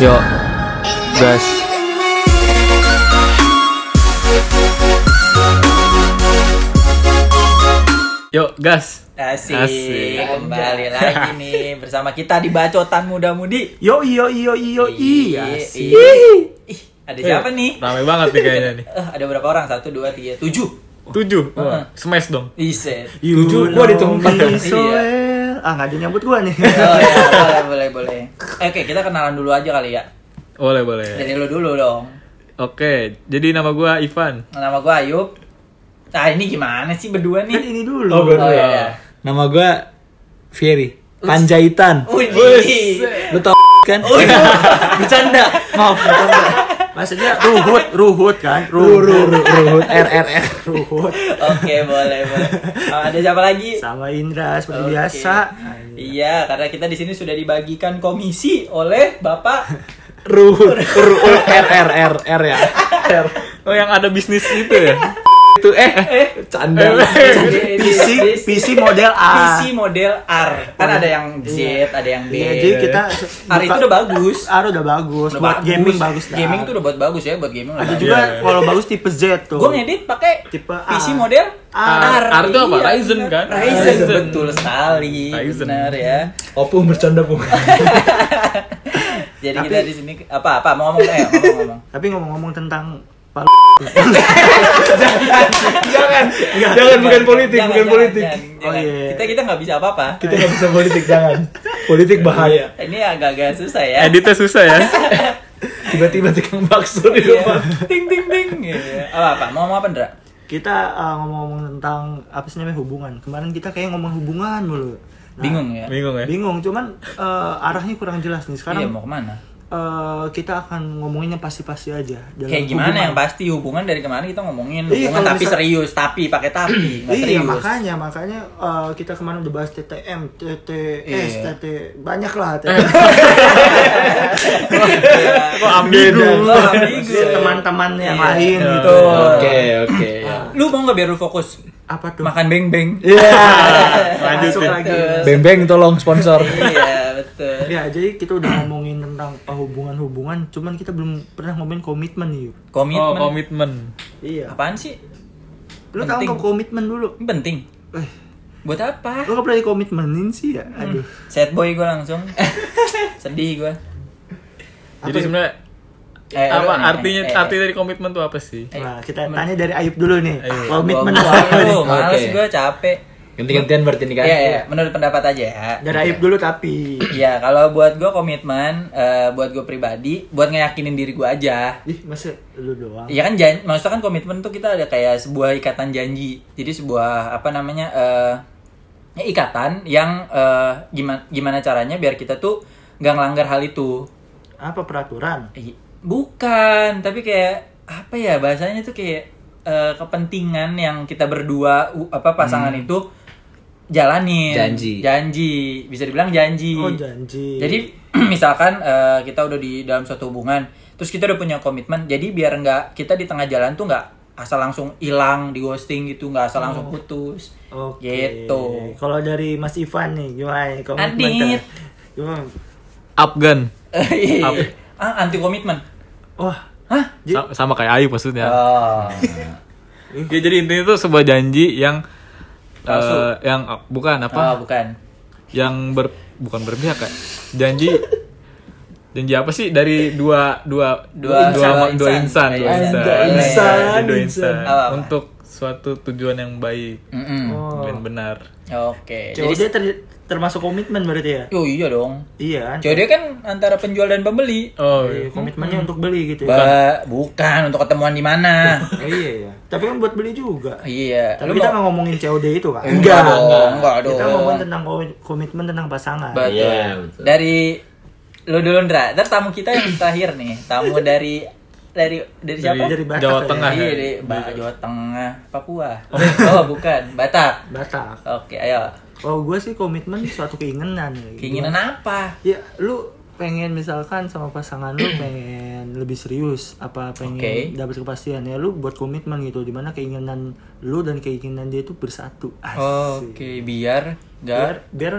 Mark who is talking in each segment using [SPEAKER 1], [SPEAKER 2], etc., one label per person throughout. [SPEAKER 1] Yuk, gas. Yuk, gas.
[SPEAKER 2] Asik.
[SPEAKER 1] Asik.
[SPEAKER 2] Kembali lagi nih bersama kita di bacotan muda-mudi.
[SPEAKER 3] Yo yo yo yo iya.
[SPEAKER 2] Ih, Ih, ada siapa Iya, nih?
[SPEAKER 1] Rame banget nih kayaknya nih.
[SPEAKER 2] Eh, ada berapa orang? Satu, dua, tiga, tujuh.
[SPEAKER 1] Tujuh. Wah, smash dong.
[SPEAKER 2] Iset.
[SPEAKER 3] Tujuh, gua ditunggu
[SPEAKER 2] Iya.
[SPEAKER 3] so well. Ah nggak ada nyambut gua nih.
[SPEAKER 2] Oh ya, boleh, boleh, boleh. Eh, Oke, kita kenalan dulu aja kali ya.
[SPEAKER 1] Boleh, boleh.
[SPEAKER 2] Dari lu dulu dong.
[SPEAKER 1] Oke, jadi nama gua Ivan.
[SPEAKER 2] Nama gua Ayub. Nah, ini gimana sih berdua
[SPEAKER 3] Kan
[SPEAKER 2] nih?
[SPEAKER 3] ini dulu.
[SPEAKER 1] Oh, gua-
[SPEAKER 2] Oh iya. iya.
[SPEAKER 4] Nama gue Fieri Panjaitan.
[SPEAKER 2] Wih,
[SPEAKER 4] Lu tau kan?
[SPEAKER 2] bercanda.
[SPEAKER 4] Maaf.
[SPEAKER 3] Maksudnya ruhut, ruhut kan?
[SPEAKER 4] Ruru Ruhut R R R.
[SPEAKER 3] ruhut.
[SPEAKER 2] Oke, boleh, boleh. Oh, ada siapa lagi?
[SPEAKER 3] Sama Indra
[SPEAKER 2] Oke.
[SPEAKER 3] seperti biasa.
[SPEAKER 2] Iya, karena kita di sini sudah dibagikan komisi oleh Bapak
[SPEAKER 4] Ruhut Ruhut R R R R ya. R.
[SPEAKER 1] Oh, yang ada bisnis itu ya?
[SPEAKER 4] Itu eh canda.
[SPEAKER 3] eh, PC PC model
[SPEAKER 2] PC
[SPEAKER 3] A.
[SPEAKER 2] model R. Kan ada yang Z, ada yang B.
[SPEAKER 3] Iya, jadi kita
[SPEAKER 2] R itu udah bagus.
[SPEAKER 3] R udah bagus.
[SPEAKER 2] Udah
[SPEAKER 3] buat
[SPEAKER 2] bagus.
[SPEAKER 3] gaming bagus dah.
[SPEAKER 2] Gaming tuh udah buat bagus ya buat gaming.
[SPEAKER 3] ada
[SPEAKER 2] Ada
[SPEAKER 3] juga
[SPEAKER 1] Iya, iya.
[SPEAKER 3] kalau bagus tipe Z tuh. Ah,
[SPEAKER 2] Gue ngedit pakai
[SPEAKER 3] Tipe A.
[SPEAKER 2] PC model
[SPEAKER 3] R.
[SPEAKER 2] R.
[SPEAKER 1] R itu Ah, apa?
[SPEAKER 2] Iya,
[SPEAKER 1] Ryzen,
[SPEAKER 2] bener.
[SPEAKER 1] kan?
[SPEAKER 2] Ryzen,
[SPEAKER 1] Ryzen.
[SPEAKER 2] betul sekali.
[SPEAKER 1] Ryzen.
[SPEAKER 2] Benar ya.
[SPEAKER 4] Opung bercanda pung.
[SPEAKER 2] Jadi
[SPEAKER 3] Tapi-
[SPEAKER 2] kita di sini apa apa mau ngomong eh ngomong ngomong.
[SPEAKER 3] Tapi ngomong-ngomong tentang pal
[SPEAKER 4] Jangan. Jangan bukan politik,
[SPEAKER 2] Jangan,
[SPEAKER 4] bukan
[SPEAKER 2] jangan,
[SPEAKER 4] politik.
[SPEAKER 2] jangan,
[SPEAKER 3] Oh,
[SPEAKER 2] jangan.
[SPEAKER 3] iya.
[SPEAKER 2] Kita kita nggak bisa apa-apa.
[SPEAKER 4] Kita nggak bisa politik jangan.
[SPEAKER 5] Iya,
[SPEAKER 4] Politik bahaya.
[SPEAKER 2] Ini agak-agak susah ya.
[SPEAKER 1] Editnya susah ya.
[SPEAKER 4] Tiba-tiba tukang bakso di
[SPEAKER 2] Iya.
[SPEAKER 4] depan.
[SPEAKER 2] Ting ting ting. Iya. Apa apa? Mau ngomong apa
[SPEAKER 3] Nah,
[SPEAKER 2] Ndra?
[SPEAKER 3] kita uh, ngomong-ngomong tentang apa sih namanya hubungan. Kemarin kita kayak ngomong hubungan mulu. Nah,
[SPEAKER 2] Bingung ya.
[SPEAKER 1] Bingung ya?
[SPEAKER 3] Bingung, cuman eh, arahnya kurang jelas nih.
[SPEAKER 2] Iya
[SPEAKER 3] Sekarang
[SPEAKER 2] mau kemana?
[SPEAKER 3] eh, kita akan ngomongin yang pasti-pasti aja. dalam
[SPEAKER 2] Kayak gimana
[SPEAKER 3] hubungan.
[SPEAKER 2] yang pasti hubungan dari kemarin kita ngomongin
[SPEAKER 3] Iya,
[SPEAKER 2] hubungan
[SPEAKER 3] kalau
[SPEAKER 2] tapi
[SPEAKER 3] misal-
[SPEAKER 2] serius, tapi pakai tapi, nggak
[SPEAKER 3] Iya
[SPEAKER 2] serius.
[SPEAKER 3] makanya makanya eh, kita kemarin udah bahas TTM, TTS,
[SPEAKER 2] Iya.
[SPEAKER 3] TT banyak lah. TT.
[SPEAKER 1] Eh,
[SPEAKER 2] Iya.
[SPEAKER 1] Kok ambigu?
[SPEAKER 2] Wah, ambigu.
[SPEAKER 3] Teman-teman yang
[SPEAKER 2] Iya.
[SPEAKER 3] lain
[SPEAKER 1] Iya.
[SPEAKER 3] gitu.
[SPEAKER 4] Oke oke.
[SPEAKER 2] Lu mau nggak biar lu fokus
[SPEAKER 3] Apa tuh?
[SPEAKER 2] makan beng beng?
[SPEAKER 4] Iya.
[SPEAKER 3] Masuk
[SPEAKER 1] Lanjutin.
[SPEAKER 3] lagi.
[SPEAKER 4] Bembeng tolong sponsor.
[SPEAKER 2] Iya betul.
[SPEAKER 3] Ya jadi kita udah ngomongin tentang eh, hubungan-hubungan, cuman kita belum pernah ngomongin komitmen nih. Yup.
[SPEAKER 1] Oh,
[SPEAKER 2] Komitmen.
[SPEAKER 1] komitmen.
[SPEAKER 3] Iya.
[SPEAKER 2] Apaan sih?
[SPEAKER 3] Lu tahu
[SPEAKER 2] penting.
[SPEAKER 3] nggak komitmen dulu?
[SPEAKER 2] Ini Penting.
[SPEAKER 3] Eh,
[SPEAKER 2] Buat apa?
[SPEAKER 3] lu nggak pernah dikomitmenin sih
[SPEAKER 2] Hmm.
[SPEAKER 3] ya? Aduh.
[SPEAKER 2] Sad boy gue langsung. Sedih gue.
[SPEAKER 1] Jadi sebenarnya
[SPEAKER 2] Eh,
[SPEAKER 1] apa
[SPEAKER 2] lu- eh,
[SPEAKER 1] artinya
[SPEAKER 2] eh, eh.
[SPEAKER 1] arti dari komitmen tuh apa sih?
[SPEAKER 3] Nah, kita tanya dari Ayub dulu nih.
[SPEAKER 1] Ayo.
[SPEAKER 3] Komitmen
[SPEAKER 2] Gua-
[SPEAKER 3] tuh apa nih?
[SPEAKER 2] Aduh, males
[SPEAKER 4] Oke.
[SPEAKER 2] gue capek.
[SPEAKER 4] Ganti-gantian berarti nih kan?
[SPEAKER 2] Iya, iya. menurut pendapat aja ya.
[SPEAKER 3] Dari Ayub dulu tapi.
[SPEAKER 2] Iya, kalau buat gue komitmen, eh, buat gue pribadi, buat ngeyakinin diri gue aja.
[SPEAKER 3] Ih, masa lu doang?
[SPEAKER 2] Iya kan, jan maksudnya kan komitmen tuh kita ada kayak sebuah ikatan janji. Jadi sebuah apa namanya eh, ya ikatan yang gimana gimana caranya biar kita tuh nggak ngelanggar hal itu.
[SPEAKER 3] Apa peraturan?
[SPEAKER 2] Ih, Iya, Bukan, tapi kayak apa ya bahasanya tuh kayak eh, kepentingan yang kita berdua u- apa pasangan itu jalanin.
[SPEAKER 4] Janji.
[SPEAKER 2] Janji, bisa dibilang janji.
[SPEAKER 3] Oh,
[SPEAKER 2] Iya.
[SPEAKER 3] janji.
[SPEAKER 2] Jadi misalkan eh, kita udah di dalam suatu hubungan, terus kita udah punya komitmen, jadi biar nggak kita di tengah jalan tuh nggak asal langsung hilang di ghosting gitu, nggak asal langsung putus.
[SPEAKER 3] Oh. Oke.
[SPEAKER 2] Gitu.
[SPEAKER 3] Kalau dari Mas Ivan nih, gimana nih komitmen?
[SPEAKER 2] Adit.
[SPEAKER 3] ter- Gimana?
[SPEAKER 1] Afgan. Apa?
[SPEAKER 2] ah, anti komitmen.
[SPEAKER 3] Wah,
[SPEAKER 2] Hah?
[SPEAKER 1] Sa- sama kayak Ayu maksudnya.
[SPEAKER 2] Oh.
[SPEAKER 1] Ya jadi intinya tuh sebuah janji yang
[SPEAKER 2] Palsu.
[SPEAKER 1] eh, yang ah, bukan
[SPEAKER 2] Oh,
[SPEAKER 1] apa?
[SPEAKER 2] bukan.
[SPEAKER 1] Yang ber bukan berpihak ya. Janji janji apa sih dari dua dua
[SPEAKER 2] Dua- sama
[SPEAKER 1] dua dua
[SPEAKER 2] insan.
[SPEAKER 1] insan, dua
[SPEAKER 2] Iya,
[SPEAKER 1] insan.
[SPEAKER 2] dua insan,
[SPEAKER 1] Janji dua insan.
[SPEAKER 2] insan. Apa-apa.
[SPEAKER 1] untuk suatu tujuan yang baik
[SPEAKER 2] Mm-mm.
[SPEAKER 3] Oh.
[SPEAKER 1] dan benar.
[SPEAKER 2] Oke.
[SPEAKER 3] COD
[SPEAKER 2] Eh, Jadi
[SPEAKER 3] ter- termasuk komitmen berarti ya?
[SPEAKER 2] Oh iya dong.
[SPEAKER 3] Iya kan?
[SPEAKER 2] COD kan antara penjual dan pembeli.
[SPEAKER 1] Oh,
[SPEAKER 3] Iya,
[SPEAKER 2] Hmm.
[SPEAKER 3] komitmennya untuk beli gitu ya?
[SPEAKER 2] Ba, bukan untuk ketemuan di mana.
[SPEAKER 3] Oh, iya ya. Tapi kan buat beli juga.
[SPEAKER 2] iya.
[SPEAKER 3] Tapi
[SPEAKER 2] Lu mau-
[SPEAKER 3] kita nggak ngomongin COD itu kan?
[SPEAKER 2] enggak, dong, enggak
[SPEAKER 3] Kita
[SPEAKER 2] dong.
[SPEAKER 3] ngomongin tentang ko- komitmen tentang pasangan.
[SPEAKER 2] Betul. Dari lu dulu Ndra, ntar tamu kita yang terakhir nih, tamu dari dari dari siapa?
[SPEAKER 1] dari,
[SPEAKER 3] Dari Batak
[SPEAKER 1] Jawa
[SPEAKER 3] ya?
[SPEAKER 1] Tengah.
[SPEAKER 2] Iya,
[SPEAKER 1] ya?
[SPEAKER 2] dari ba, Jawa Tengah, Papua. Oh, bukan, Batak.
[SPEAKER 3] Batak.
[SPEAKER 2] Oke, ayo.
[SPEAKER 3] Kalau gue sih komitmen suatu keinginan. ya.
[SPEAKER 2] Keinginan apa?
[SPEAKER 3] Ya, lu pengen misalkan sama pasangan lu pengen lebih serius apa pengen
[SPEAKER 2] Oke.
[SPEAKER 3] dapat kepastian ya lu buat komitmen gitu dimana keinginan lu dan keinginan dia itu bersatu Asik.
[SPEAKER 2] Oke, biar
[SPEAKER 3] Ah,
[SPEAKER 2] gar
[SPEAKER 3] biar biar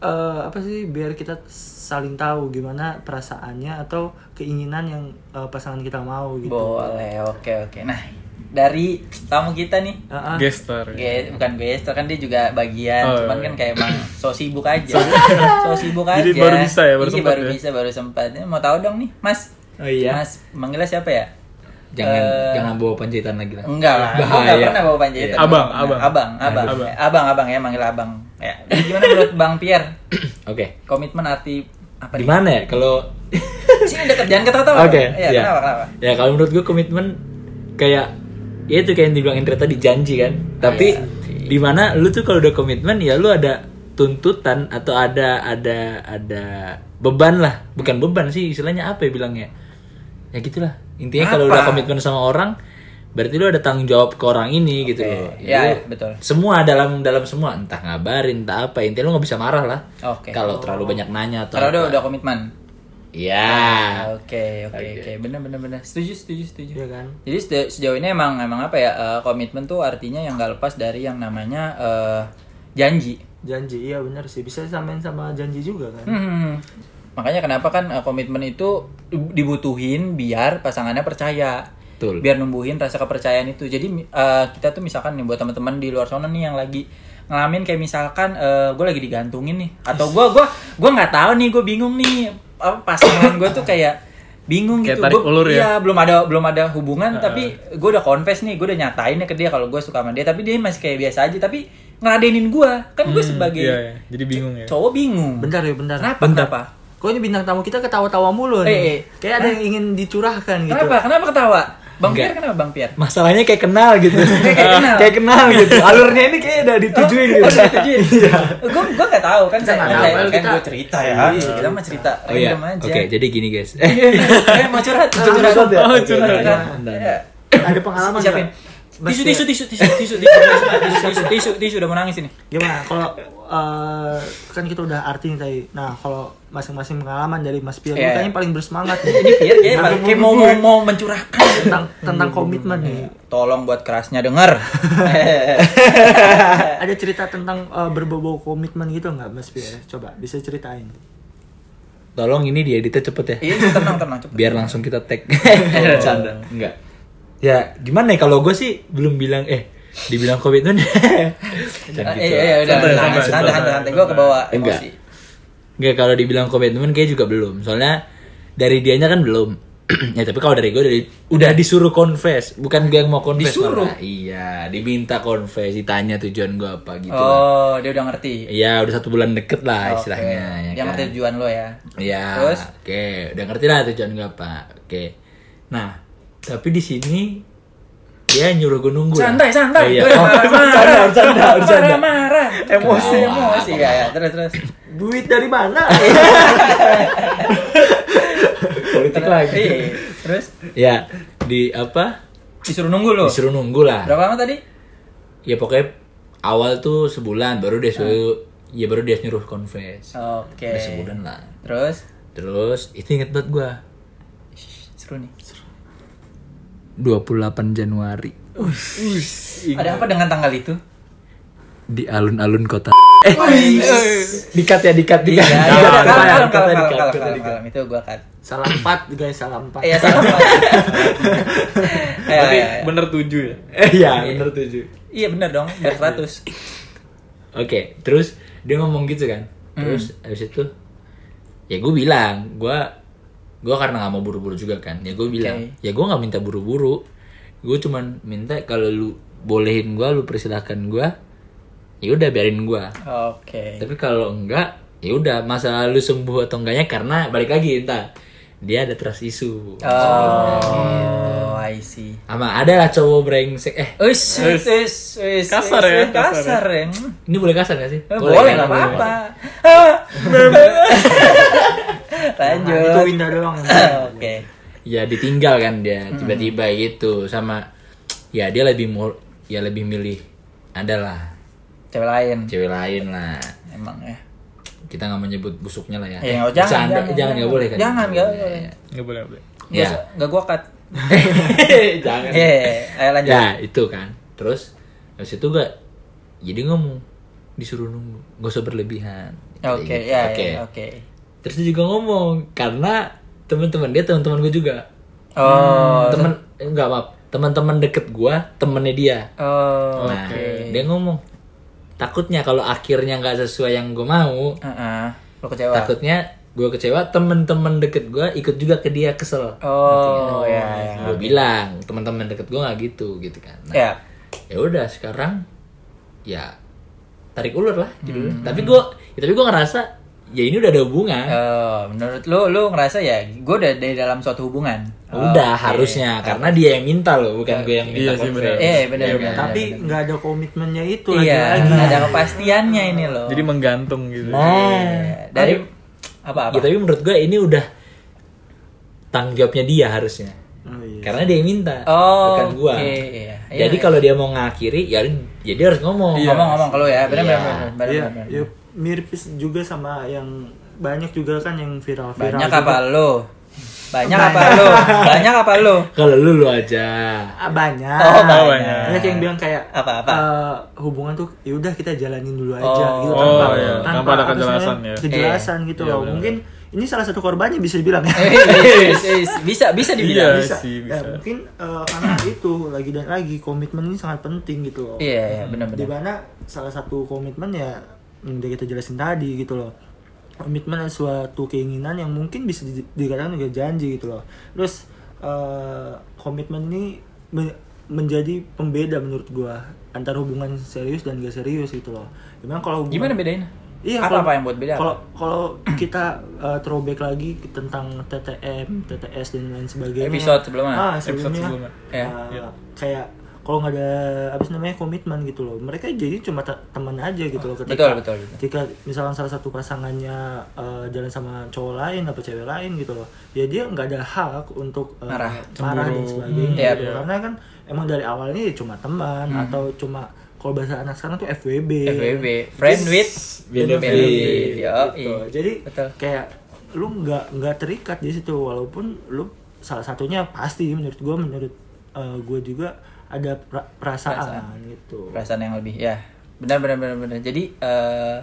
[SPEAKER 3] eh, apa sih biar kita saling tahu gimana perasaannya atau keinginan yang eh, pasangan kita mau gitu.
[SPEAKER 2] Boleh, oke oke. Nah, dari tamu kita nih,
[SPEAKER 3] Ah, ah.
[SPEAKER 1] Gestar.
[SPEAKER 2] Ge- bukan gestor kan dia juga bagian,
[SPEAKER 1] Oh,
[SPEAKER 2] cuman
[SPEAKER 1] iya.
[SPEAKER 2] kan kayak emang so sibuk aja, so sibuk aja.
[SPEAKER 1] Jadi baru bisa ya, baru
[SPEAKER 2] Jadi
[SPEAKER 1] sempat
[SPEAKER 2] baru
[SPEAKER 1] ya.
[SPEAKER 2] bisa, baru sempat. Ini Mau tahu dong nih, Mas?
[SPEAKER 4] Oh iya.
[SPEAKER 2] Mas, manggilnya siapa ya?
[SPEAKER 5] Jangan
[SPEAKER 2] Eh,
[SPEAKER 5] jangan bawa panjaitan lagi lah.
[SPEAKER 2] Enggak lah,
[SPEAKER 5] Bahaya.
[SPEAKER 2] gua nggak pernah bawa panjaitan.
[SPEAKER 1] Iya. Abang,
[SPEAKER 2] Nggak.
[SPEAKER 1] abang.
[SPEAKER 2] abang, abang,
[SPEAKER 1] Abang.
[SPEAKER 2] Eh, abang, abang ya manggil abang. Ya. Gimana menurut Bang Pierre?
[SPEAKER 5] Oke.
[SPEAKER 2] Komitmen arti apa? nih?
[SPEAKER 5] Gimana ya kalau
[SPEAKER 2] Sini deket, jangan ketawa-tawa.
[SPEAKER 5] Oke.
[SPEAKER 2] Ya,
[SPEAKER 5] iya.
[SPEAKER 2] kenapa, kenapa?
[SPEAKER 5] Ya kalau menurut gue komitmen kayak ya itu kayak yang dibilang Indra tadi janji kan. Tapi
[SPEAKER 2] Iya.
[SPEAKER 5] di mana lu tuh kalau udah komitmen ya lu ada tuntutan atau ada ada ada beban lah. Bukan beban sih istilahnya apa ya bilangnya. Ya gitulah. Intinya kalau
[SPEAKER 2] Apa?
[SPEAKER 5] udah komitmen sama orang berarti lu ada tanggung jawab ke orang ini gitu
[SPEAKER 2] Oke.
[SPEAKER 5] loh.
[SPEAKER 2] Ya,
[SPEAKER 5] lu-
[SPEAKER 2] ya, betul.
[SPEAKER 5] Semua dalam dalam semua entah ngabarin entah apa intinya lu nggak bisa marah lah.
[SPEAKER 2] Oke.
[SPEAKER 5] Kalau terlalu banyak nanya atau
[SPEAKER 2] Karena udah
[SPEAKER 5] apa.
[SPEAKER 2] udah komitmen.
[SPEAKER 5] Ya.
[SPEAKER 2] Oke, oke, oke. Bener, bener, bener. Setuju, setuju, setuju.
[SPEAKER 3] Iya kan?
[SPEAKER 2] Jadi sejauh- sejauh ini emang emang apa ya eh, komitmen tuh artinya yang nggak lepas dari yang namanya eh, janji.
[SPEAKER 3] Janji iya benar sih bisa disamain sama janji juga kan.
[SPEAKER 2] Hmm. Makanya kenapa kan eh, komitmen itu dibutuhin biar pasangannya percaya.
[SPEAKER 5] Betul.
[SPEAKER 2] Biar numbuhin rasa kepercayaan itu. Jadi mi- eh, kita tuh misalkan nih buat teman-teman di luar sana nih yang lagi ngalamin kayak misalkan eh, gue lagi digantungin nih atau gue gua gua nggak tahu nih gue bingung nih apa pasangan gue tuh kayak bingung
[SPEAKER 1] Kayak
[SPEAKER 2] gitu
[SPEAKER 1] tarik
[SPEAKER 2] Gua-
[SPEAKER 1] ulur ya?
[SPEAKER 2] iya, belum ada belum ada hubungan tapi gue udah confess nih gue udah nyatain ke dia kalau gue suka sama dia tapi dia masih kayak biasa aja tapi ngeladenin gue kan gue sebagai
[SPEAKER 1] Iya, iya. Jadi bingung ya.
[SPEAKER 2] cowok bingung
[SPEAKER 3] Bentar ya bentar.
[SPEAKER 2] Hmm. Kenapa? Kenapa?
[SPEAKER 5] Gitu.
[SPEAKER 3] Kok ini bintang tamu kita ketawa-tawa mulu nih.
[SPEAKER 2] Eh, eh.
[SPEAKER 3] Kayak ada yang ingin dicurahkan gitu.
[SPEAKER 2] Kenapa? Kenapa ketawa? Bang
[SPEAKER 5] Enggak.
[SPEAKER 2] Pierre kenapa Bang Pierre?
[SPEAKER 5] masalahnya kayak kenal gitu
[SPEAKER 2] Kayak kenal. Oh,
[SPEAKER 5] kayak kenal gitu alurnya ini kayak udah ditujuin gitu
[SPEAKER 2] Gue gue nggak tahu kan saya
[SPEAKER 3] nggak
[SPEAKER 2] saya-
[SPEAKER 3] tahu,
[SPEAKER 2] kan
[SPEAKER 3] kita-
[SPEAKER 2] gue cerita ya. Kita mah cerita
[SPEAKER 5] oh iya
[SPEAKER 2] random aja.
[SPEAKER 5] oke jadi gini guys Eh,
[SPEAKER 2] Eh mau curhat, curhat, curhat.
[SPEAKER 5] ya?
[SPEAKER 2] Oh,
[SPEAKER 5] Oke,
[SPEAKER 2] curhat.
[SPEAKER 5] oke.
[SPEAKER 2] curhat.
[SPEAKER 5] Bentar.
[SPEAKER 2] Iya.
[SPEAKER 3] Ada pengalaman
[SPEAKER 2] Siapin.
[SPEAKER 3] nggak?
[SPEAKER 2] Tisu,
[SPEAKER 3] Mas-
[SPEAKER 2] tisu, tisu, tisu, tisu, tisu, tisu, tisu, tisu, tisu, udah mau nangis ini.
[SPEAKER 3] Gimana kalau eh, kan kita udah arti nih tadi. Nah, kalau masing-masing pengalaman dari Mas Pierre
[SPEAKER 2] Iya.
[SPEAKER 3] lu kayaknya paling bersemangat
[SPEAKER 2] Ini
[SPEAKER 3] nih.
[SPEAKER 5] Iya,
[SPEAKER 2] Pierre kayak paling- kayak mau Iya. mau mau mencurahkan.
[SPEAKER 3] tentang tentang komitmen nih.
[SPEAKER 2] Tolong buat kerasnya denger. Eh,
[SPEAKER 3] Ada cerita tentang eh, berbau komitmen gitu nggak Mas Pierre? Coba bisa ceritain.
[SPEAKER 5] tolong ini dieditnya cepet ya
[SPEAKER 2] Iya, tenang, tenang, cepet. Eh,
[SPEAKER 5] biar langsung kita tag canda enggak ya gimana ya kalau gue sih belum bilang eh dibilang komitmen Jangan gitu
[SPEAKER 2] Iya, iya, udah,
[SPEAKER 1] Santai, santai,
[SPEAKER 2] santai, santai,
[SPEAKER 1] santai.
[SPEAKER 2] santai. Gue kebawa
[SPEAKER 5] Enggak.
[SPEAKER 2] emosi.
[SPEAKER 5] Enggak kalau dibilang komitmen kayak juga belum. Soalnya dari dianya kan belum. ya tapi kalau dari gue dari udah disuruh confess, bukan gue yang mau confess.
[SPEAKER 2] Disuruh?
[SPEAKER 5] malah. Iya, diminta confess, ditanya tujuan gue apa gitu. lah.
[SPEAKER 2] Oh, dia udah ngerti.
[SPEAKER 5] Iya, udah satu bulan deket lah
[SPEAKER 2] Oke.
[SPEAKER 5] istilahnya. ya
[SPEAKER 2] Dia
[SPEAKER 5] kan?
[SPEAKER 2] ngerti tujuan lo ya.
[SPEAKER 5] Iya.
[SPEAKER 2] Terus?
[SPEAKER 5] Oke, udah ngerti lah tujuan gue apa. Oke. Nah, tapi di sini dia nyuruh gue nunggu. lah.
[SPEAKER 2] Santai, santai.
[SPEAKER 5] Oh, iya.
[SPEAKER 2] Gue
[SPEAKER 5] Oh,
[SPEAKER 2] marah-marah.
[SPEAKER 5] bercanda, bercanda.
[SPEAKER 2] Marah-marah. Emosi,
[SPEAKER 5] Kenapa?
[SPEAKER 2] emosi. Ya, ya. Terus, terus.
[SPEAKER 3] Duit dari mana?
[SPEAKER 5] Politik lagi.
[SPEAKER 2] Iya, Terus
[SPEAKER 5] Ya, di apa?
[SPEAKER 2] disuruh nunggu lo.
[SPEAKER 5] Disuruh nunggu lah.
[SPEAKER 2] Berapa lama tadi?
[SPEAKER 5] ya pokoknya awal tuh sebulan baru dia suruh ya baru dia nyuruh confess
[SPEAKER 2] Ah. Oke.
[SPEAKER 5] udah sebulan lah
[SPEAKER 2] Terus
[SPEAKER 5] terus itu inget banget gua
[SPEAKER 2] Shh, seru nih.
[SPEAKER 5] 28 Januari
[SPEAKER 2] Ada apa dengan tanggal itu?
[SPEAKER 5] di alun-alun kota eh
[SPEAKER 2] Iya,
[SPEAKER 5] dikat ya dikat dikat
[SPEAKER 2] Ya, ya,
[SPEAKER 5] Dikat,
[SPEAKER 2] kalem,
[SPEAKER 5] dikat, dikat,
[SPEAKER 2] kalem, kalem,
[SPEAKER 5] dikat, dikat,
[SPEAKER 2] kalem,
[SPEAKER 5] dikat,
[SPEAKER 2] kalem,
[SPEAKER 5] dikat.
[SPEAKER 2] kalem. Itu gue kan.
[SPEAKER 3] salah empat guys, salah empat.
[SPEAKER 2] Iya, salah. Pak. Iya,
[SPEAKER 1] Berarti
[SPEAKER 2] iya, iya.
[SPEAKER 1] bener tujuh ya.
[SPEAKER 5] eh ya bener tujuh
[SPEAKER 2] Iya, bener dong. Biar 100.
[SPEAKER 5] oke terus dia ngomong gitu kan
[SPEAKER 2] Hmm.
[SPEAKER 5] terus habis itu ya gue bilang gua gua karena nggak mau buru-buru juga kan ya gue bilang ya gua nggak minta buru-buru gue cuman minta kalau lu bolehin gua lu persilahkan gua ya udah biarin gua
[SPEAKER 2] Oke.
[SPEAKER 5] tapi kalau enggak ya udah masa lalu sembuh atau enggaknya karena balik lagi entah dia ada trust issue
[SPEAKER 2] Oh, I see.
[SPEAKER 5] sama ada lah cowok brengsek eh
[SPEAKER 2] Uish, uish, uish, uish,
[SPEAKER 1] Kasar ya,
[SPEAKER 2] uish,
[SPEAKER 1] kasar
[SPEAKER 2] kasar ya. Hmm.
[SPEAKER 5] ini boleh kasar gak sih
[SPEAKER 2] Eh, boleh nggak
[SPEAKER 5] kan?
[SPEAKER 2] apa-apa.
[SPEAKER 3] Nah, itu
[SPEAKER 2] Lanjut. Iya,
[SPEAKER 3] Winda doang. yang
[SPEAKER 2] Oke.
[SPEAKER 5] ya ditinggal kan dia tiba-tiba gitu sama ya dia lebih mau ya lebih milih adalah
[SPEAKER 2] Cewek lain.
[SPEAKER 5] cewek lain lah
[SPEAKER 2] Emang ya.
[SPEAKER 5] kita nggak menyebut busuknya lah ya
[SPEAKER 2] Eh, jangan,
[SPEAKER 5] Bercanda-
[SPEAKER 2] jangan,
[SPEAKER 5] jangan nggak boleh kan
[SPEAKER 2] Jangan, nggak
[SPEAKER 5] Ya,
[SPEAKER 2] boleh.
[SPEAKER 5] ya.
[SPEAKER 1] Enggak boleh, nggak boleh.
[SPEAKER 5] Ya.
[SPEAKER 2] Nggak su- nggak gua cut.
[SPEAKER 5] jangan
[SPEAKER 2] Iya, ayo lanjut.
[SPEAKER 5] ya itu kan ya terus habis itu gak jadi ngomong disuruh nunggu nggak usah berlebihan Kayak
[SPEAKER 2] Oke,
[SPEAKER 5] gitu.
[SPEAKER 2] ya,
[SPEAKER 5] Oke.
[SPEAKER 2] ya, oke.
[SPEAKER 5] Terus dia juga ngomong karena teman-teman dia teman-teman gue juga.
[SPEAKER 2] Oh,
[SPEAKER 5] temen enggak maaf, teman-teman deket gue, temennya dia.
[SPEAKER 2] oh,
[SPEAKER 5] Nah, dia ngomong takutnya kalau akhirnya nggak sesuai yang gue mau,
[SPEAKER 2] Heeh. Lo kecewa.
[SPEAKER 5] takutnya gue kecewa temen-temen deket gue ikut juga ke dia kesel.
[SPEAKER 2] Oh, ya, ya.
[SPEAKER 5] gue bilang teman-teman deket gue nggak gitu gitu kan. Nah,
[SPEAKER 2] Ya.
[SPEAKER 5] ya udah sekarang ya tarik ulur lah judulnya.
[SPEAKER 2] Hmm.
[SPEAKER 5] Tapi gue, ya, tapi gue ngerasa ya ini udah ada hubungan.
[SPEAKER 2] Eh, menurut lo, lo ngerasa ya, gue udah dari dalam suatu hubungan.
[SPEAKER 5] udah
[SPEAKER 2] Oke.
[SPEAKER 5] harusnya karena dia yang minta loh, bukan gue yang minta. Ya
[SPEAKER 1] Iya
[SPEAKER 5] kan?
[SPEAKER 1] sih, benar.
[SPEAKER 5] konfes.
[SPEAKER 2] Eh, benar, benar.
[SPEAKER 3] tapi nggak ada komitmennya itu
[SPEAKER 2] iya,
[SPEAKER 3] lagi lagi
[SPEAKER 2] ada kepastiannya ini loh.
[SPEAKER 1] Jadi menggantung gitu.
[SPEAKER 2] Oh,
[SPEAKER 5] Nah,
[SPEAKER 2] Ah, dari apa apa?
[SPEAKER 5] Ya, tapi menurut gue ini udah tanggung jawabnya dia harusnya.
[SPEAKER 3] oh, iya.
[SPEAKER 5] Karena dia yang minta,
[SPEAKER 2] Oh,
[SPEAKER 5] bukan gua.
[SPEAKER 2] oke, iya. Iya,
[SPEAKER 5] Jadi
[SPEAKER 2] iya.
[SPEAKER 5] kalau dia mau ngakhiri, ya jadi harus ngomong.
[SPEAKER 2] Ngomong-ngomong kalau ya, benar benar
[SPEAKER 5] Iya.
[SPEAKER 2] benar, benar.
[SPEAKER 3] Iya,
[SPEAKER 2] benar.
[SPEAKER 3] iya, mirip juga sama yang banyak juga kan yang viral-viral.
[SPEAKER 2] Banyak
[SPEAKER 3] juga.
[SPEAKER 2] apa lo? Banyak apa lo? Banyak apa lo?
[SPEAKER 5] Kalau lu lu aja.
[SPEAKER 3] Ah, Banyak.
[SPEAKER 2] Oh, banyak.
[SPEAKER 3] Banyak yang bilang kayak
[SPEAKER 2] Apa-apa?
[SPEAKER 3] eh, hubungan tuh ya udah kita jalanin dulu aja
[SPEAKER 2] Oh. Iya.
[SPEAKER 3] gitu
[SPEAKER 1] Oh, iya. Tanpa ada
[SPEAKER 3] apa sih
[SPEAKER 1] kejelasan,
[SPEAKER 3] namanya,
[SPEAKER 1] ya.
[SPEAKER 3] Kejelasan gitu loh. Mungkin ini salah satu korbannya bisa dibilang ya.
[SPEAKER 2] Eh, eh, eh, eh, bisa bisa dibilang.
[SPEAKER 1] Iya
[SPEAKER 3] bisa.
[SPEAKER 1] sih,
[SPEAKER 3] Ya,
[SPEAKER 1] bisa.
[SPEAKER 3] mungkin eh, karena itu lagi dan lagi komitmen ini sangat penting gitu loh.
[SPEAKER 2] Iya, iya, benar
[SPEAKER 3] di
[SPEAKER 2] benar.
[SPEAKER 3] mana salah satu komitmen ya yang udah kita jelasin tadi gitu loh komitmen adalah suatu keinginan yang mungkin bisa di- dikatakan juga janji gitu loh terus eh, komitmen ini me- menjadi pembeda menurut gua antara hubungan serius dan gak serius gitu loh gimana kalau hubungan-
[SPEAKER 2] Gimana bedain?
[SPEAKER 3] Iya,
[SPEAKER 2] apa
[SPEAKER 3] kalau-
[SPEAKER 2] apa yang buat beda?
[SPEAKER 3] kalau kalau kita eh, throwback lagi tentang TTM, TTS dan lain sebagainya.
[SPEAKER 2] Episode sebelumnya.
[SPEAKER 3] Ah,
[SPEAKER 1] Episode
[SPEAKER 3] sebelumnya.
[SPEAKER 1] sebelumnya.
[SPEAKER 2] Ya.
[SPEAKER 3] Ah, kayak kalau nggak ada apa sih namanya komitmen gitu loh. Mereka jadi cuma te- teman aja gitu loh ketika
[SPEAKER 2] Betul, betul, betul.
[SPEAKER 3] ketika misalkan salah satu pasangannya eh, jalan sama cowok lain atau cewek lain gitu loh. Ya dia nggak ada hak untuk eh,
[SPEAKER 2] Marah.
[SPEAKER 3] marah dan sebagainya.
[SPEAKER 2] Hmm, iya, Hmm.
[SPEAKER 3] gitu.
[SPEAKER 2] iya.
[SPEAKER 3] Karena kan emang dari awalnya ya cuma teman atau cuma kalau bahasa anak sekarang tuh FWB.
[SPEAKER 2] FWB, friend with Iya,
[SPEAKER 5] benefit.
[SPEAKER 2] benefit. Yo,
[SPEAKER 3] Iya, Gitu.
[SPEAKER 2] i.
[SPEAKER 3] Jadi
[SPEAKER 2] Betul.
[SPEAKER 3] kayak lu nggak nggak terikat di situ walaupun lu salah satunya pasti menurut gua menurut gue juga ada pra- perasaan, gitu.
[SPEAKER 2] perasaan yang lebih ya benar benar benar benar jadi eh,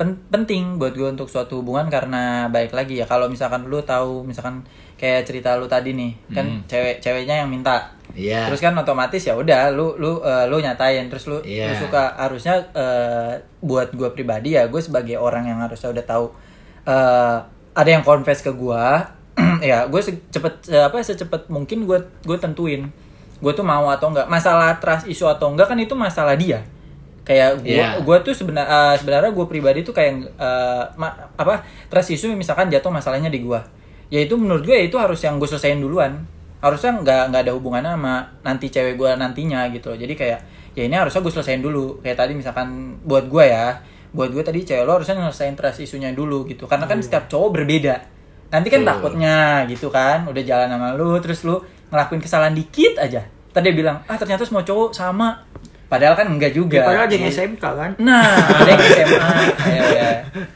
[SPEAKER 2] pen- penting buat gue untuk suatu hubungan karena baik lagi ya kalau misalkan lu tahu misalkan kayak cerita lu tadi nih kan cewek ceweknya yang minta
[SPEAKER 5] Iya.
[SPEAKER 2] terus kan otomatis ya udah lu lu eh, lu nyatain terus lu, lu
[SPEAKER 5] Iya.
[SPEAKER 2] suka harusnya eh, buat gue pribadi ya gue sebagai orang yang harusnya udah tahu eh, ada yang confess ke gue ya gue cepet apa secepat mungkin gue gue tentuin gue tuh mau atau enggak masalah trust isu atau enggak kan itu masalah dia kayak gue
[SPEAKER 5] Iya.
[SPEAKER 2] gue tuh sebenar eh, sebenarnya gue pribadi tuh kayak eh, ma- apa trust isu misalkan jatuh masalahnya di gue ya itu menurut gue ya itu harus yang gue selesaiin duluan harusnya nggak nggak ada hubungannya sama nanti cewek gue nantinya gitu loh. jadi kayak ya ini harusnya gue selesaiin dulu kayak tadi misalkan buat gue ya buat gue tadi cewek lo harusnya nyelesain trust isunya dulu gitu karena kan setiap cowok berbeda nanti kan takutnya gitu kan udah jalan sama lu terus lu ngelakuin kesalahan dikit aja tadi dia bilang ah ternyata semua cowok sama padahal kan enggak juga
[SPEAKER 3] Ya, Padahal ada yang SMK kan.
[SPEAKER 2] Nah, ada yang SMA. Ayo, ya.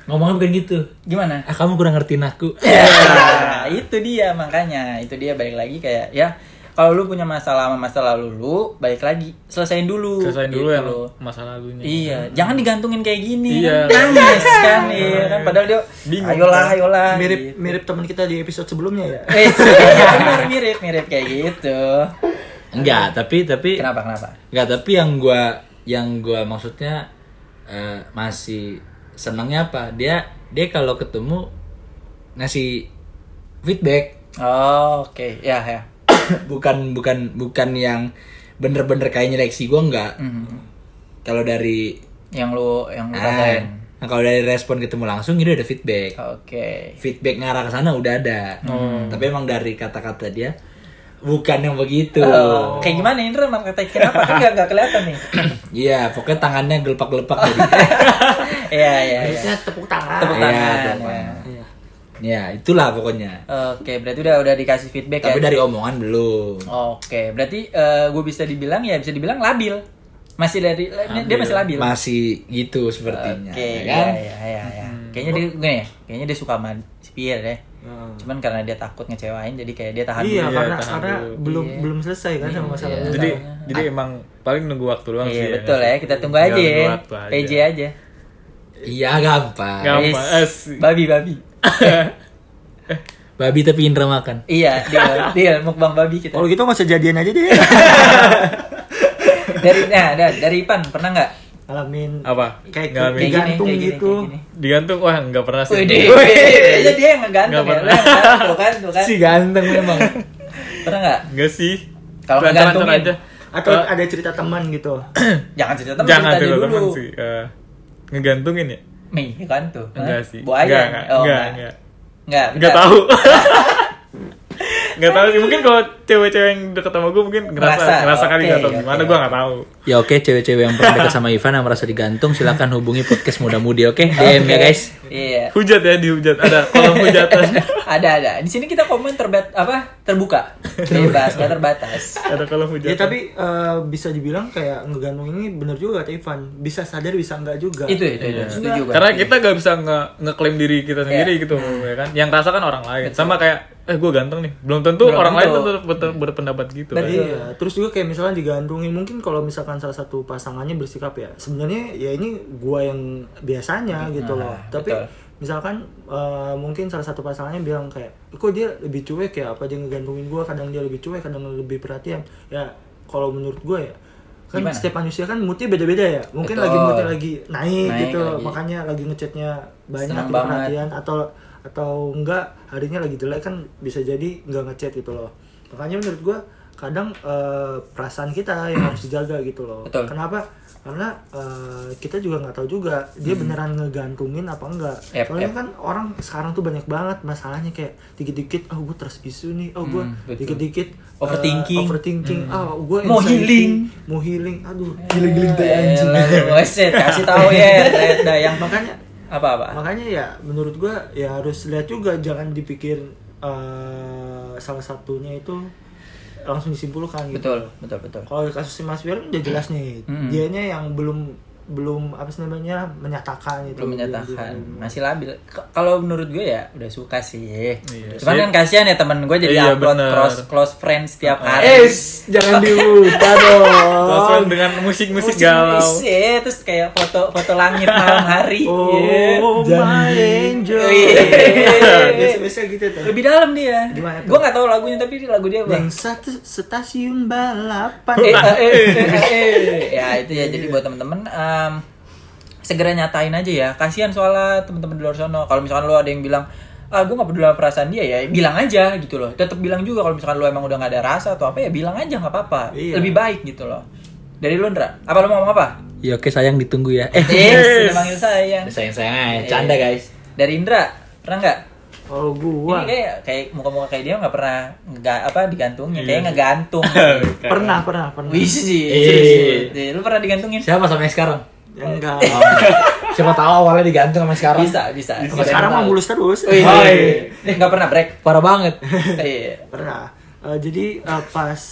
[SPEAKER 5] Ngomongnya bukan gitu.
[SPEAKER 2] Gimana?
[SPEAKER 5] Ah, kamu kurang ngertiin aku.
[SPEAKER 1] Iya.
[SPEAKER 2] Ya, itu dia makanya. Itu dia balik lagi kayak ya kalau lu punya masalah sama masa lalu lu, balik lagi selesain dulu.
[SPEAKER 1] Selesain dulu
[SPEAKER 2] Gitu
[SPEAKER 1] yang
[SPEAKER 2] loh.
[SPEAKER 1] masa lalunya.
[SPEAKER 2] Iya, jangan digantungin kayak gini.
[SPEAKER 1] Iya.
[SPEAKER 2] kan. Nangis kan, iya kan. Padahal dia
[SPEAKER 1] Bingung,
[SPEAKER 2] ayolah, ayolah. gitu.
[SPEAKER 3] Mirip mirip teman kita di episode sebelumnya ya.
[SPEAKER 2] Eh, iya, bener, mirip, mirip kayak gitu.
[SPEAKER 5] Enggak, tapi tapi
[SPEAKER 2] Kenapa, kenapa?
[SPEAKER 5] Enggak, tapi yang gua yang gua maksudnya eh, masih senangnya apa? Dia dia kalau ketemu ngasih feedback
[SPEAKER 2] Oh, oke. Ya, ya.
[SPEAKER 5] bukan bukan bukan yang bener-bener kayak nyeleksi gua enggak.
[SPEAKER 2] Mm-hmm.
[SPEAKER 5] Kalau dari
[SPEAKER 2] Yang lu yang lu
[SPEAKER 5] ah,
[SPEAKER 2] rasain.
[SPEAKER 5] nah, kalau dari respon ketemu langsung itu ada feedback.
[SPEAKER 1] Ah.
[SPEAKER 2] Oke.
[SPEAKER 5] Feedback ngarah ke sana udah ada. Tapi emang dari kata-kata dia bukan yang begitu.
[SPEAKER 2] Oh, kayak gimana ini Ren? Marketing kenapa kan nggak nggak kelihatan nih?
[SPEAKER 5] Iya, pokoknya tangannya gelepak-gelepak jadi.
[SPEAKER 2] Iya iya. iya.
[SPEAKER 3] Harusnya tepuk tangan.
[SPEAKER 2] Tepuk
[SPEAKER 5] Iya,
[SPEAKER 2] tangan. ya.
[SPEAKER 5] tepuk tangan. Ya, itulah pokoknya.
[SPEAKER 2] Oke, berarti udah udah dikasih feedback
[SPEAKER 5] Tapi
[SPEAKER 2] ya.
[SPEAKER 5] dari omongan belum.
[SPEAKER 2] Oke, berarti gue bisa dibilang ya bisa dibilang labil. Masih dari dia masih labil.
[SPEAKER 5] Masih gitu sepertinya.
[SPEAKER 2] Oke,
[SPEAKER 5] ya
[SPEAKER 2] iya
[SPEAKER 5] kan?
[SPEAKER 2] iya iya. iya. Kayaknya dia gini ya, kayaknya dia suka sama si Pierre ya. Cuman karena dia takut ngecewain jadi kayak dia tahan
[SPEAKER 3] Iya,
[SPEAKER 2] dulu.
[SPEAKER 3] karena
[SPEAKER 1] tahan
[SPEAKER 3] karena
[SPEAKER 1] dulu.
[SPEAKER 3] belum belum selesai kan sama masalah.
[SPEAKER 2] Iya.
[SPEAKER 3] lu.
[SPEAKER 1] Jadi jadi emang paling nunggu waktu doang
[SPEAKER 2] Iya,
[SPEAKER 1] sih.
[SPEAKER 2] betul ya. Kita tunggu aja
[SPEAKER 1] Tinggal
[SPEAKER 2] ya.
[SPEAKER 1] nunggu waktu
[SPEAKER 2] PJ aja.
[SPEAKER 5] Iya gampang.
[SPEAKER 1] Gampang.
[SPEAKER 2] Yes.
[SPEAKER 1] Asik.
[SPEAKER 2] Babi babi.
[SPEAKER 5] Babi tapi Indra makan.
[SPEAKER 2] Iya, deal, deal mukbang babi kita.
[SPEAKER 3] Kalau
[SPEAKER 5] Oh, iya.
[SPEAKER 3] gitu nggak usah jadian aja deh.
[SPEAKER 2] Dari nah, da- dari Ipan pernah nggak?
[SPEAKER 3] Alamin.
[SPEAKER 1] Apa?
[SPEAKER 3] Kayak
[SPEAKER 1] Nggak,
[SPEAKER 2] Kayak gini,
[SPEAKER 3] digantung
[SPEAKER 2] kayak gini,
[SPEAKER 3] gitu.
[SPEAKER 2] kayak gini.
[SPEAKER 1] Digantung wah nggak pernah sih.
[SPEAKER 2] Wih, deh. Jadi dia yang ngegantung
[SPEAKER 1] Nggak
[SPEAKER 2] ya. Lu yang ngegantung, Tuh kan, tuh kan.
[SPEAKER 5] Si ganteng memang.
[SPEAKER 2] Pernah nggak?
[SPEAKER 1] Enggak sih.
[SPEAKER 2] Kalau
[SPEAKER 1] Pelan-pelan
[SPEAKER 2] ngegantungin.
[SPEAKER 1] aja.
[SPEAKER 3] Atau
[SPEAKER 1] Eh,
[SPEAKER 3] ada cerita teman gitu.
[SPEAKER 2] Jangan cerita teman
[SPEAKER 1] jangan
[SPEAKER 2] cerita
[SPEAKER 1] cerita
[SPEAKER 2] dulu.
[SPEAKER 1] teman sih. Eh, ngegantungin ya?
[SPEAKER 2] Nih, kan tuh. Hah?
[SPEAKER 1] Enggak sih.
[SPEAKER 2] Bu Ayang.
[SPEAKER 1] Enggak,
[SPEAKER 2] Oh,
[SPEAKER 1] enggak,
[SPEAKER 2] nggak.
[SPEAKER 1] enggak.
[SPEAKER 2] Enggak.
[SPEAKER 1] Enggak
[SPEAKER 2] bentar.
[SPEAKER 1] tahu. Enggak tahu sih. Mungkin kalau cewek-cewek yang deket sama gue mungkin ngerasa
[SPEAKER 2] Ngerasa,
[SPEAKER 1] ngerasa kali
[SPEAKER 2] oke,
[SPEAKER 1] nggak tahu
[SPEAKER 2] oke.
[SPEAKER 1] gimana gue nggak tahu.
[SPEAKER 5] Ya oke, cewek-cewek yang pernah dekat sama Ivan yang merasa digantung silakan hubungi podcast Muda Mudi oke? DM ya guys.
[SPEAKER 2] Iya.
[SPEAKER 1] Hujat ya dihujat ada kolom hujatan.
[SPEAKER 2] ada ada. Di sini kita komen terbat apa? Terbuka. Bebas, nggak terbatas.
[SPEAKER 1] ada kolom hujatan.
[SPEAKER 3] Ya tapi eh, bisa dibilang kayak ngegantung ini bener juga kata Ivan. Bisa sadar bisa enggak juga.
[SPEAKER 2] Itu ya, itu, itu. setuju gua.
[SPEAKER 1] Karena kita gak bisa nge ngeklaim diri kita sendiri gitu, ya kan? Yang rasa kan orang lain. Sama kayak, eh gue ganteng nih. Belum tentu orang lain
[SPEAKER 2] tentu.
[SPEAKER 1] tentu ber- berpendapat gitu. kan.
[SPEAKER 3] Iya, terus juga kayak misalnya digantungin mungkin kalau misalkan salah satu pasangannya bersikap ya sebenarnya ya ini gua yang biasanya gitu loh. Tapi
[SPEAKER 2] Iya, betul.
[SPEAKER 3] misalkan eh, mungkin salah satu pasangannya bilang kayak kok dia lebih cuek ya apa dia ngegantungin gua kadang dia lebih cuek kadang lebih perhatian. Ya kalau menurut gua ya kan
[SPEAKER 2] Gimana?
[SPEAKER 3] setiap manusia kan moodnya beda-beda ya mungkin
[SPEAKER 2] Betul.
[SPEAKER 3] lagi moodnya lagi naik,
[SPEAKER 2] Naik
[SPEAKER 3] gitu
[SPEAKER 2] lagi.
[SPEAKER 3] makanya lagi ngechatnya banyak
[SPEAKER 2] Senang
[SPEAKER 3] gitu,
[SPEAKER 2] banget.
[SPEAKER 3] perhatian atau atau enggak harinya lagi jelek kan bisa jadi enggak ngechat gitu loh makanya menurut gua kadang eh, perasaan kita yang harus dijaga gitu loh
[SPEAKER 2] Betul.
[SPEAKER 3] kenapa karena eh, kita juga nggak tahu juga dia beneran ngegantungin apa enggak
[SPEAKER 2] Hmm. Yep,
[SPEAKER 3] soalnya
[SPEAKER 2] yep.
[SPEAKER 3] kan orang sekarang tuh banyak banget masalahnya kayak dikit-dikit oh gue trust isu nih oh gue
[SPEAKER 2] Hmm, betul.
[SPEAKER 3] dikit-dikit eh,
[SPEAKER 2] Overthinking. Hmm.
[SPEAKER 3] overthinking ah gue
[SPEAKER 2] Mau healing.
[SPEAKER 3] mau healing aduh
[SPEAKER 2] giling anjing. Weset, kasih tahu ya, Red, dah yang
[SPEAKER 3] makanya
[SPEAKER 2] apa-apa.
[SPEAKER 3] makanya ya menurut gua ya harus lihat juga jangan dipikir eh, salah satunya itu langsung disimpulkan gitu
[SPEAKER 2] Betul, betul, betul.
[SPEAKER 3] kalau kasus Mas Wiran udah jelas nih
[SPEAKER 2] Mm-mm.
[SPEAKER 3] dianya yang belum belum apa sih namanya menyatakan itu
[SPEAKER 2] belum menyatakan masih labil K- kalau menurut gue ya udah suka sih
[SPEAKER 1] Iya.
[SPEAKER 2] cuman kan kasihan ya temen gue jadi
[SPEAKER 1] Iya,
[SPEAKER 2] upload
[SPEAKER 1] bener. Eh,
[SPEAKER 2] close close friends setiap hari
[SPEAKER 3] jangan dibuka dong
[SPEAKER 1] Sesuai dengan musik-musik
[SPEAKER 2] Musik
[SPEAKER 1] galau.
[SPEAKER 2] musik, eh, terus kayak foto foto langit malam hari Iya.
[SPEAKER 3] oh my angel
[SPEAKER 2] Wih.
[SPEAKER 3] biasa-biasa gitu tuh
[SPEAKER 2] Oh, lebih dalam dia
[SPEAKER 3] Gimana tuh?
[SPEAKER 2] gue nggak tahu lagunya tapi lagu dia apa
[SPEAKER 3] yang satu
[SPEAKER 2] Eh,
[SPEAKER 3] stasiun balapan
[SPEAKER 2] eh, eh, eh, eh. ya itu ya jadi buat temen-temen em, segera nyatain aja ya kasihan soalnya temen-temen di luar sana kalau misalkan lo ada yang bilang ah gue gak peduli sama perasaan dia ya bilang aja gitu loh tetap bilang juga kalau misalkan lo emang udah gak ada rasa atau apa ya bilang aja nggak apa-apa
[SPEAKER 3] Iya.
[SPEAKER 2] lebih baik gitu loh dari lo Ndra apa lo mau ngomong apa
[SPEAKER 5] Ya oke sayang ditunggu ya. Eh,
[SPEAKER 2] yes, udah manggil sayang
[SPEAKER 5] sayang-sayang aja,
[SPEAKER 2] Eh,
[SPEAKER 5] canda guys.
[SPEAKER 2] dari Indra pernah nggak
[SPEAKER 3] kalau
[SPEAKER 2] ini
[SPEAKER 3] gua
[SPEAKER 2] kayak kayak muka-muka kayak dia nggak pernah nggak apa digantungin kayak ngegantung gitu.
[SPEAKER 3] pernah pernah pernah
[SPEAKER 2] Wih sih,
[SPEAKER 5] Eh.
[SPEAKER 2] serius. Eh, lu pernah digantungin?
[SPEAKER 5] Siapa sampai sekarang?
[SPEAKER 3] enggak
[SPEAKER 2] Oh.
[SPEAKER 5] Siapa tahu awalnya digantung sama sekarang.
[SPEAKER 2] Bisa, bisa.
[SPEAKER 3] Kalau sekarang mah mulus terus.
[SPEAKER 2] Wih,
[SPEAKER 5] Hai.
[SPEAKER 2] eh, nggak pernah break.
[SPEAKER 5] Parah banget.
[SPEAKER 2] Iya.
[SPEAKER 3] iya. Pernah. Eh, jadi eh, pas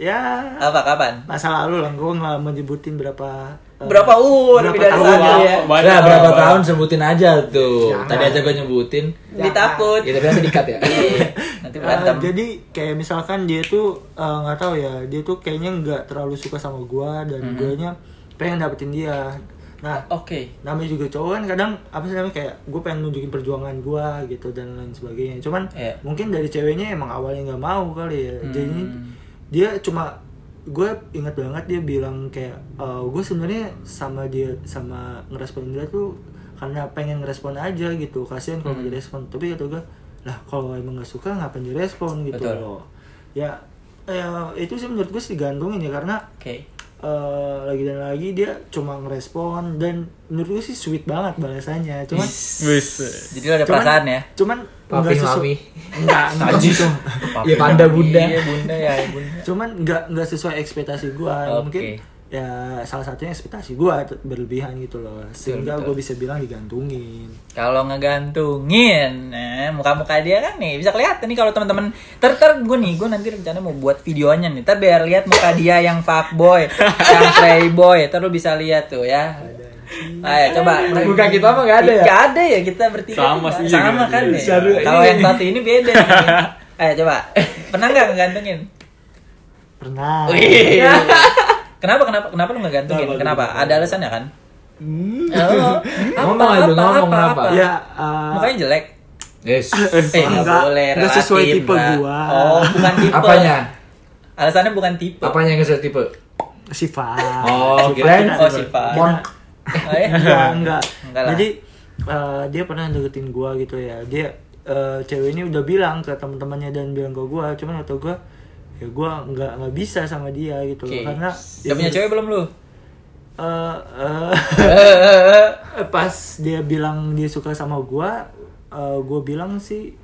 [SPEAKER 3] ya
[SPEAKER 2] Apa kapan?
[SPEAKER 3] masa lalu lah gue nggak menyebutin berapa eh,
[SPEAKER 2] Berapa uh lebih dari
[SPEAKER 3] berapa tahun
[SPEAKER 2] sana
[SPEAKER 3] lalu.
[SPEAKER 2] ya.
[SPEAKER 1] Banyak
[SPEAKER 5] Udah berapa
[SPEAKER 1] banget.
[SPEAKER 5] tahun sebutin aja tuh.
[SPEAKER 3] Jangan.
[SPEAKER 5] Tadi aja gue nyebutin.
[SPEAKER 2] Jadi takut.
[SPEAKER 5] Ya tapi nanti dikat ya.
[SPEAKER 2] Iya. Nanti
[SPEAKER 3] Eh,
[SPEAKER 2] berantem.
[SPEAKER 3] Iya. jadi kayak misalkan dia tuh eh, nggak tahu ya dia tuh kayaknya nggak terlalu suka sama gua dan guanya pengen dapetin dia nah
[SPEAKER 2] Oke.
[SPEAKER 3] namanya juga cowok kan kadang apa sih namanya kayak gue pengen nunjukin perjuangan gue gitu dan lain sebagainya cuman
[SPEAKER 2] Iya. Hmm.
[SPEAKER 3] mungkin dari ceweknya emang awalnya nggak mau kali ya jadi dia cuma gue ingat banget dia bilang kayak gue sebenarnya sama dia sama ngerespon dia tuh karena pengen ngerespon aja gitu kasihan kalau
[SPEAKER 2] Hmm.
[SPEAKER 3] nggak direspon tapi kata gue lah kalau emang nggak suka ngapain direspon gitu
[SPEAKER 2] Betul.
[SPEAKER 3] loh ya ya, itu sih menurut gue sih digantungin ya karena
[SPEAKER 2] Oke.
[SPEAKER 3] eh lagi dan lagi dia cuma ngerespon dan menurut gue sih sweet banget balasannya cuman
[SPEAKER 1] Wis.
[SPEAKER 2] Jadi lu ada
[SPEAKER 3] cuman-
[SPEAKER 2] perasaan ya?
[SPEAKER 3] cuman
[SPEAKER 5] Papi,
[SPEAKER 3] nggak sesu-
[SPEAKER 5] mami.
[SPEAKER 3] nggak nggak gitu
[SPEAKER 5] Ya panda bunda.
[SPEAKER 2] Iya, bunda ya, bunda.
[SPEAKER 3] cuman nggak nggak sesuai ekspektasi gue
[SPEAKER 2] Oke.
[SPEAKER 3] mungkin ya salah satunya ekspektasi gue berlebihan gitu loh sehingga
[SPEAKER 2] betul.
[SPEAKER 3] gue bisa bilang digantungin
[SPEAKER 2] Kalau ngegantungin, nah, muka-muka dia kan nih bisa kelihatan nih kalau teman-teman. Ter ter gue nih, gue nanti rencana mau buat videonya nih. Ter biar lihat muka dia yang fuckboy, yang playboy. Ter lu bisa lihat tuh ya. Ayo coba.
[SPEAKER 5] Muka kita mah nggak ada ya?
[SPEAKER 2] Gak ada ya kita bertiga.
[SPEAKER 1] Sama
[SPEAKER 2] juga.
[SPEAKER 1] sih,
[SPEAKER 2] Sama
[SPEAKER 1] iya,
[SPEAKER 2] kan
[SPEAKER 1] iya.
[SPEAKER 2] nih.
[SPEAKER 5] Iya, iya.
[SPEAKER 2] Kalau yang satu ini beda. nih. Ayo coba. Pernah nggak ngegantungin?
[SPEAKER 3] pernah
[SPEAKER 2] Kenapa kenapa kenapa lu ngegantungin?
[SPEAKER 3] Kenapa,
[SPEAKER 2] Kenapa? Ada alasannya kan? Oh,
[SPEAKER 5] Hmm. Ngomong aja, ngomong apa.
[SPEAKER 3] ya eh,
[SPEAKER 2] Mukanya jelek.
[SPEAKER 5] Yes.
[SPEAKER 2] Eh, nggak
[SPEAKER 3] Enggak,
[SPEAKER 2] boleh.
[SPEAKER 3] nggak
[SPEAKER 2] relatif,
[SPEAKER 3] sesuai tipe
[SPEAKER 2] Mbak.
[SPEAKER 3] gua.
[SPEAKER 2] Oh, bukan tipe.
[SPEAKER 5] Apanya?
[SPEAKER 2] Alasannya bukan tipe.
[SPEAKER 5] Apanya yang nggak sesuai tipe?
[SPEAKER 3] sifat
[SPEAKER 5] Oh,
[SPEAKER 3] Sifat
[SPEAKER 5] kirain-
[SPEAKER 3] kita-
[SPEAKER 2] Oh, sifat.
[SPEAKER 3] kita-
[SPEAKER 2] Oh, ya?
[SPEAKER 5] Iya.
[SPEAKER 3] enggak enggak
[SPEAKER 2] Enggak lah.
[SPEAKER 3] jadi eh, dia pernah deketin gua gitu ya dia eh, cewek ini udah bilang ke teman-temannya dan bilang ke gua cuman kata gua ya gua nggak nggak bisa sama dia gitu
[SPEAKER 2] Oke.
[SPEAKER 3] loh karena
[SPEAKER 2] Udah punya cewek belum lu?
[SPEAKER 3] Eh, eh, pas dia bilang dia suka sama gua eh, gua bilang sih